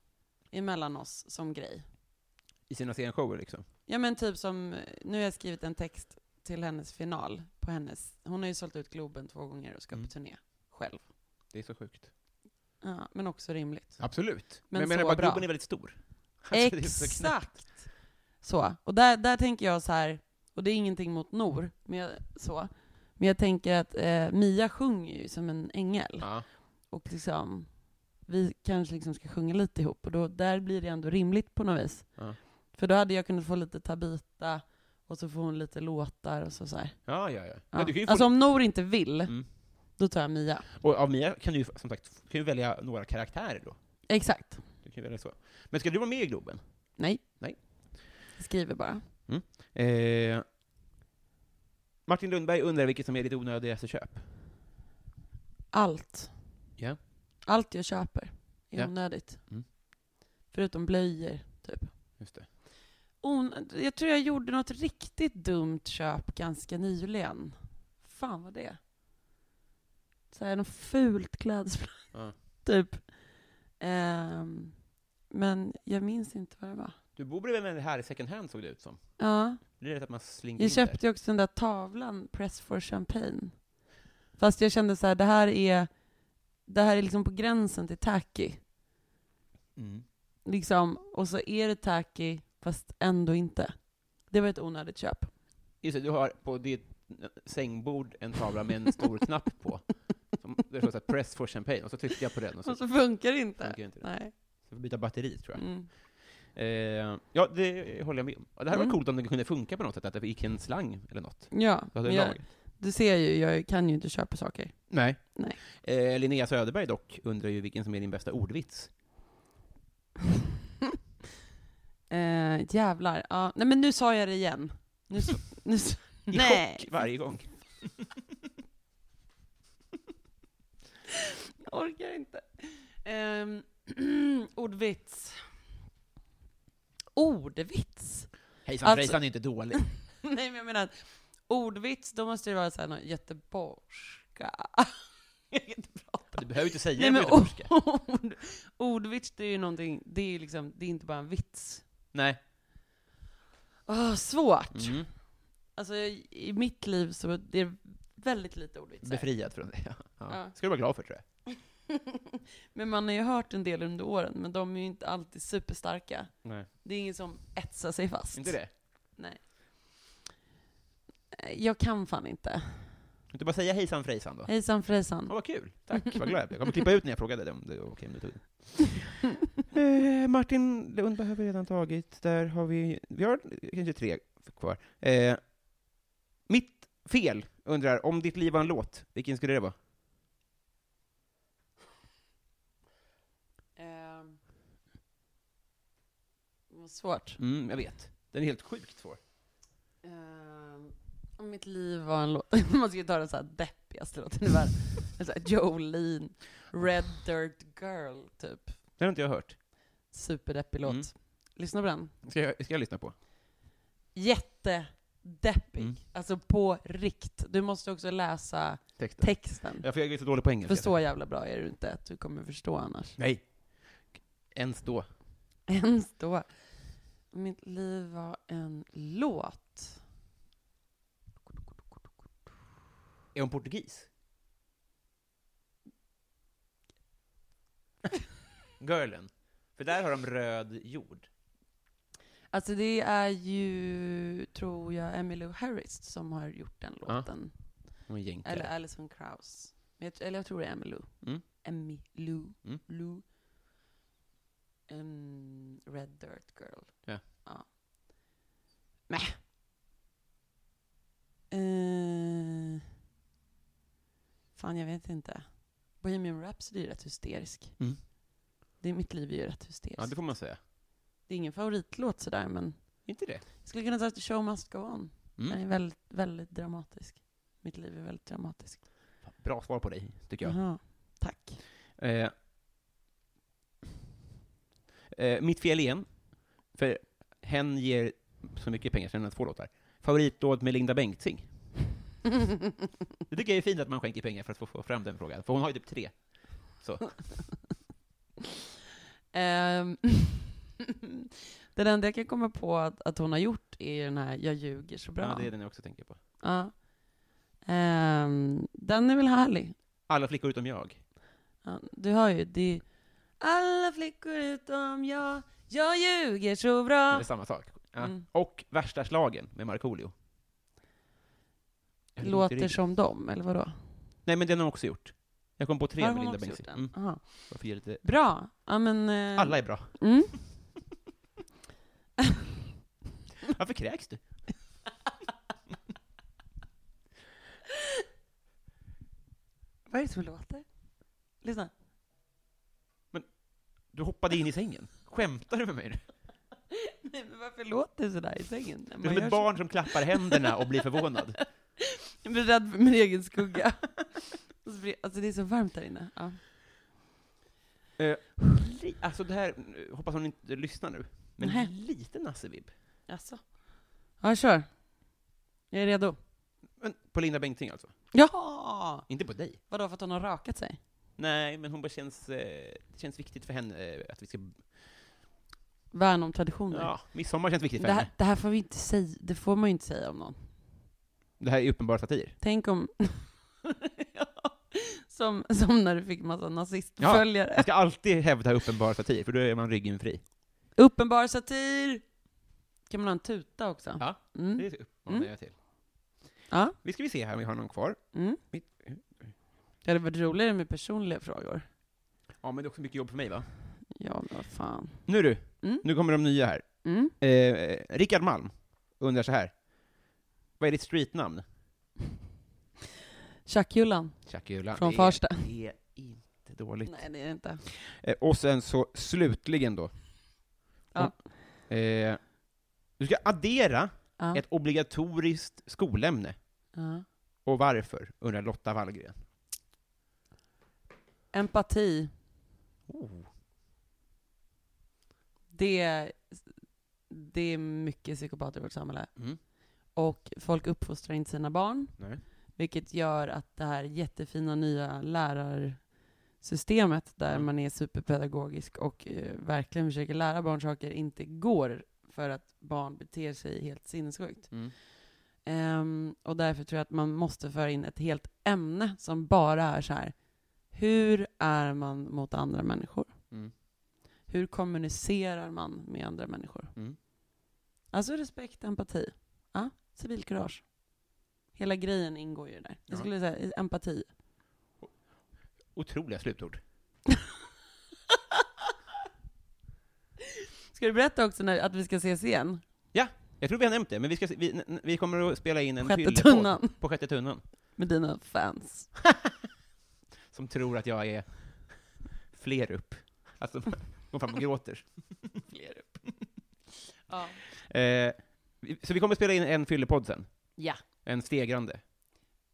[SPEAKER 5] emellan oss som grej.
[SPEAKER 4] I sina scenshower liksom.
[SPEAKER 5] Ja men typ som, nu har jag skrivit en text till hennes final på hennes, hon har ju sålt ut Globen två gånger och ska
[SPEAKER 4] Mm.
[SPEAKER 5] på turné själv.
[SPEAKER 4] Det är så sjukt.
[SPEAKER 5] Ja, men också rimligt.
[SPEAKER 4] Absolut. Men,
[SPEAKER 5] Men
[SPEAKER 4] jag menar
[SPEAKER 5] så
[SPEAKER 4] bara,
[SPEAKER 5] bra.
[SPEAKER 4] Globen är väldigt stor. Alltså, det är så knäppt.
[SPEAKER 5] Exakt! Så, och där, där tänker jag så här, och det är ingenting mot Nor, men jag, så. Men jag tänker att eh, Mia sjunger ju som en ängel.
[SPEAKER 4] Ja.
[SPEAKER 5] Och liksom, vi kanske liksom ska sjunga lite ihop, och då, där blir det ändå rimligt på något vis.
[SPEAKER 4] Ja.
[SPEAKER 5] För då hade jag kunnat få lite Tabita, och så får hon lite låtar och så, så här.
[SPEAKER 4] Ja, ja, ja.
[SPEAKER 5] Ja.
[SPEAKER 4] Men du kan ju få...
[SPEAKER 5] Alltså om Nor inte vill,
[SPEAKER 4] Mm.
[SPEAKER 5] då tar jag Mia.
[SPEAKER 4] Och av Mia kan du ju som sagt kan ju välja några karaktärer då.
[SPEAKER 5] Exakt.
[SPEAKER 4] Du kan ju välja så. Men ska du vara med i Globen?
[SPEAKER 5] Nej.
[SPEAKER 4] Nej.
[SPEAKER 5] Jag skriver bara.
[SPEAKER 4] Eh, Martin Lundberg undrar vilket som är ditt onödigaste köp.
[SPEAKER 5] Allt.
[SPEAKER 4] Ja.
[SPEAKER 5] Allt jag köper är
[SPEAKER 4] Ja.
[SPEAKER 5] onödigt.
[SPEAKER 4] Mm.
[SPEAKER 5] Förutom blöjor, typ.
[SPEAKER 4] Just det.
[SPEAKER 5] on... Jag tror jag gjorde något riktigt dumt köp ganska nyligen. Fan vad det är. Så här, något fult klädesplagg,
[SPEAKER 4] Ja.
[SPEAKER 5] typ. Ehm, men jag minns inte vad det var.
[SPEAKER 4] Du bor bredvid mig här i second hand såg det ut som.
[SPEAKER 5] Ja,
[SPEAKER 4] Det är rätt att man slinker
[SPEAKER 5] jag
[SPEAKER 4] in där.
[SPEAKER 5] köpte ju också den där tavlan, Press for Champagne. Fast jag kände så här, det här är, det här är liksom på gränsen till tacky.
[SPEAKER 4] Mm.
[SPEAKER 5] liksom, och så är det tacky, fast ändå inte. Det var ett onödigt köp.
[SPEAKER 4] Just det, du har på ditt sängbord en tavla med en stor knapp på. Som, det står så här, press for champagne, och så tryckte jag på den och så
[SPEAKER 5] Och så funkar det inte.
[SPEAKER 4] funkar inte det.
[SPEAKER 5] Nej.
[SPEAKER 4] Jag får byta batteri, tror jag.
[SPEAKER 5] Mm.
[SPEAKER 4] Eh, ja, det håller jag med om. Och Det här var
[SPEAKER 5] Mm.
[SPEAKER 4] coolt om det kunde funka på något sätt, att det gick en slang eller något.
[SPEAKER 5] Ja,
[SPEAKER 4] Då hade
[SPEAKER 5] men
[SPEAKER 4] det
[SPEAKER 5] jag,
[SPEAKER 4] lag.
[SPEAKER 5] du ser ju, jag kan ju inte köpa saker.
[SPEAKER 4] Nej.
[SPEAKER 5] Nej.
[SPEAKER 4] Eh, Linnea Söderberg dock undrar ju vilken som är din bästa ordvits.
[SPEAKER 5] eh, jävlar. Ja. Nej men nu sa jag det igen. Nu, så, nu, så,
[SPEAKER 4] I
[SPEAKER 5] Nej.
[SPEAKER 4] chock varje gång.
[SPEAKER 5] jag orkar inte. Ehm, ordvits. Ordvits?
[SPEAKER 4] Hejsan
[SPEAKER 5] Alltså-
[SPEAKER 4] frejsan är inte dålig.
[SPEAKER 5] Nej men jag menar att ordvits, då måste det vara såhär något göteborgska. jag kan inte prata.
[SPEAKER 4] Du behöver inte säga
[SPEAKER 5] Nej,
[SPEAKER 4] det
[SPEAKER 5] men oh.
[SPEAKER 4] på göteborgska.
[SPEAKER 5] ord, ordvits, det är ju någonting, det är ju liksom, det är inte bara en vits.
[SPEAKER 4] Nej.
[SPEAKER 5] Åh, svårt.
[SPEAKER 4] Mm.
[SPEAKER 5] Alltså i i mitt liv så är det väldigt lite ordvitsar.
[SPEAKER 4] Befriad från det. Ja. Ja.
[SPEAKER 5] Ja.
[SPEAKER 4] ska du vara glad för, tror jag.
[SPEAKER 5] men man har ju hört en del under åren, men de är ju inte alltid superstarka.
[SPEAKER 4] Nej.
[SPEAKER 5] Det är ingen som etsar sig fast.
[SPEAKER 4] Inte det?
[SPEAKER 5] Eh, Jag kan fan inte.
[SPEAKER 4] Kan du inte bara säga hejsan frejsan då?
[SPEAKER 5] Hejsan
[SPEAKER 4] Ja,
[SPEAKER 5] frejsan.
[SPEAKER 4] vad kul. Tack, vad glad jag blev. Jag kommer klippa ut när jag frågade dig om det var okej om du tog det. Eh, Martin Lundberg har vi redan tagit. Där har vi, vi har kanske tre kvar. Eh, mitt fel undrar, om ditt liv var en låt, vilken skulle det vara?
[SPEAKER 5] Ehm, Vad svårt.
[SPEAKER 4] Mm, jag vet. Den är helt sjukt svår.
[SPEAKER 5] Ehm, Om mitt liv var en låt, man ska ju ta den så här deppigaste låten i världen. En så här Jolene, Red Dirt Girl, typ.
[SPEAKER 4] Den har inte jag hört.
[SPEAKER 5] Superdeppig låt.
[SPEAKER 4] Mm.
[SPEAKER 5] Lyssna på den.
[SPEAKER 4] Ska jag, ska jag lyssna på?
[SPEAKER 5] Jättedeppig.
[SPEAKER 4] Mm.
[SPEAKER 5] Alltså på rikt. Du måste också läsa
[SPEAKER 4] Texten?
[SPEAKER 5] texten.
[SPEAKER 4] ja, för jag är så dålig på engelska.
[SPEAKER 5] För så jävla bra är du inte att du kommer förstå annars.
[SPEAKER 4] Nej. Ens då.
[SPEAKER 5] Ens då. Om Mitt liv var en låt.
[SPEAKER 4] Är hon portugis? Girlen. För där har de röd jord.
[SPEAKER 5] Alltså det är ju, tror jag, Emmylou Harris som har gjort den
[SPEAKER 4] Ja.
[SPEAKER 5] låten.
[SPEAKER 4] Hon är jänkare.
[SPEAKER 5] Eller Alison Krauss. Men jag, eller jag tror det är Emmylou.
[SPEAKER 4] Mm.
[SPEAKER 5] Emmylou.
[SPEAKER 4] Mm.
[SPEAKER 5] Lou. Ehm, Red Dirt Girl.
[SPEAKER 4] Ja.
[SPEAKER 5] ja. Mäh. Eh, fan, jag vet inte. Bohemian Rhapsody är rätt hysterisk.
[SPEAKER 4] Mm.
[SPEAKER 5] Det är mitt liv är ju rätt hysteriskt.
[SPEAKER 4] Ja, det får man säga.
[SPEAKER 5] Det är ingen favoritlåt sådär, men
[SPEAKER 4] Inte det?
[SPEAKER 5] jag skulle kunna säga att Show Must Go On. Den
[SPEAKER 4] Mm.
[SPEAKER 5] är väldigt, väldigt dramatisk. Mitt liv är väldigt dramatiskt.
[SPEAKER 4] Bra svar på dig, tycker jag.
[SPEAKER 5] Jaha, tack. Mm.
[SPEAKER 4] Eh, eh, mitt fel igen. För hen ger så mycket pengar sen att två låtar. Favoritlåt med Linda Bengtzing. Det tycker jag är fint att man skänker pengar för att få- få fram den frågan. För hon har ju typ tre.
[SPEAKER 5] Ehm, Den enda jag kan komma på att, att hon har gjort är ju den här Jag ljuger så bra.
[SPEAKER 4] Ja, det är den jag också tänker på.
[SPEAKER 5] Ja. Ehm, den är väl härlig.
[SPEAKER 4] Alla flickor utom jag.
[SPEAKER 5] Ja, du hör ju, det är alla flickor utom jag, jag ljuger så bra.
[SPEAKER 4] Det är samma sak. Ja.
[SPEAKER 5] Mm.
[SPEAKER 4] Och Värsta slagen med Markoolio. Jag vet inte
[SPEAKER 5] Låter
[SPEAKER 4] riktigt.
[SPEAKER 5] som dem, eller vadå?
[SPEAKER 4] Nej, men den har hon också gjort. Jag kom på tre
[SPEAKER 5] Har
[SPEAKER 4] med
[SPEAKER 5] hon
[SPEAKER 4] Linda
[SPEAKER 5] också
[SPEAKER 4] Bengtzing.
[SPEAKER 5] gjort den?
[SPEAKER 4] Mm.
[SPEAKER 5] Aha.
[SPEAKER 4] Varför ger lite...
[SPEAKER 5] Bra. Ja, men, eh,
[SPEAKER 4] Alla är bra.
[SPEAKER 5] Mm.
[SPEAKER 4] Varför kräks du?
[SPEAKER 5] Vad är det som låter? Lyssna.
[SPEAKER 4] Du hoppade in i sängen. Skämtar du med mig nu?
[SPEAKER 5] Nej, men varför låter det sådär i sängen? när
[SPEAKER 4] Du är
[SPEAKER 5] man
[SPEAKER 4] som
[SPEAKER 5] gör
[SPEAKER 4] ett
[SPEAKER 5] så?
[SPEAKER 4] barn som klappar händerna och blir förvånad.
[SPEAKER 5] Jag blir rädd för min egen skugga. Och så blir- Alltså det är så varmt där inne. Ja.
[SPEAKER 4] Li- Alltså det här, hoppas hon inte lyssnar nu, men
[SPEAKER 5] Nej.
[SPEAKER 4] lite Nassevib.
[SPEAKER 5] Jaså? Ja, kör. Jag är redo.
[SPEAKER 4] Men på Linda Bengtzing alltså?
[SPEAKER 5] Ja!
[SPEAKER 4] Inte på dig?
[SPEAKER 5] Vadå, för att hon har rakat sig?
[SPEAKER 4] Nej, men hon bara känns... Eh, det känns viktigt för henne eh, att vi ska...
[SPEAKER 5] Mm. Värna om traditioner.
[SPEAKER 4] Ja, midsommar känns viktigt för
[SPEAKER 5] det, här,
[SPEAKER 4] henne.
[SPEAKER 5] det här får vi inte säga, det får man ju inte säga om någon.
[SPEAKER 4] Det här är uppenbara satir.
[SPEAKER 5] Tänk om... Ja. som, som när du fick massa nazistföljare.
[SPEAKER 4] Man ska alltid hävda uppenbara satir, för då är man ryggen fri.
[SPEAKER 5] Uppenbar satir! Kan man ha en tuta också?
[SPEAKER 4] Ja,
[SPEAKER 5] Mm.
[SPEAKER 4] Det typ uppmanar
[SPEAKER 5] Mm.
[SPEAKER 4] jag till.
[SPEAKER 5] Ja.
[SPEAKER 4] Vi ska vi se här om vi har någon kvar.
[SPEAKER 5] Mm.
[SPEAKER 4] Mitt-
[SPEAKER 5] Det hade varit roligare med personliga frågor.
[SPEAKER 4] Ja, men det är också mycket jobb för mig va?
[SPEAKER 5] Ja, men vad fan.
[SPEAKER 4] Nu du,
[SPEAKER 5] Mm.
[SPEAKER 4] nu kommer de nya här.
[SPEAKER 5] Mm.
[SPEAKER 4] Eh, Rickard Malm undrar så här. Vad är ditt streetnamn?
[SPEAKER 5] Tjackhjulan
[SPEAKER 4] Tjackula.
[SPEAKER 5] från
[SPEAKER 4] Det är-
[SPEAKER 5] Farsta.
[SPEAKER 4] Det är inte dåligt.
[SPEAKER 5] Nej, det är det inte.
[SPEAKER 4] Eh, och sen så slutligen då.
[SPEAKER 5] Ja.
[SPEAKER 4] Om- eh, du ska addera
[SPEAKER 5] Ja.
[SPEAKER 4] ett obligatoriskt skolämne.
[SPEAKER 5] Ja.
[SPEAKER 4] Och varför? Undrar Lotta Wallgren.
[SPEAKER 5] Empati,
[SPEAKER 4] Oh.
[SPEAKER 5] det, det är mycket psykopater i vårt samhälle.
[SPEAKER 4] Mm.
[SPEAKER 5] Och folk uppfostrar inte sina barn,
[SPEAKER 4] Nej.
[SPEAKER 5] vilket gör att det här jättefina nya lärarsystemet, där
[SPEAKER 4] Mm.
[SPEAKER 5] man är superpedagogisk och eh, verkligen försöker lära barn saker, inte går för att barn beter sig helt sinnessjukt.
[SPEAKER 4] Mm.
[SPEAKER 5] Ehm, och därför tror jag att man måste föra in ett helt ämne som bara är så här. Hur är man mot andra människor?
[SPEAKER 4] Mm.
[SPEAKER 5] Hur kommunicerar man med andra människor?
[SPEAKER 4] Mm.
[SPEAKER 5] Alltså respekt, empati. Ja, civilkurage. Hela grejen ingår ju där.
[SPEAKER 4] Ja.
[SPEAKER 5] Jag skulle säga empati.
[SPEAKER 4] Otroliga slutord.
[SPEAKER 5] Ska du berätta också när, att vi ska ses igen?
[SPEAKER 4] Jag tror vi har nämnt det, men vi, ska, se- vi, n- n- vi kommer att spela in en
[SPEAKER 5] Sjätte
[SPEAKER 4] fyllepodd
[SPEAKER 5] tunnan.
[SPEAKER 4] På sjätte tunnan.
[SPEAKER 5] Med dina fans.
[SPEAKER 4] Som tror att jag är fler upp. Alltså, de går fram och gråter. fler upp.
[SPEAKER 5] Ja.
[SPEAKER 4] Eh, vi- så vi kommer att spela in en fyllepodd sen.
[SPEAKER 5] Ja.
[SPEAKER 4] En stegrande.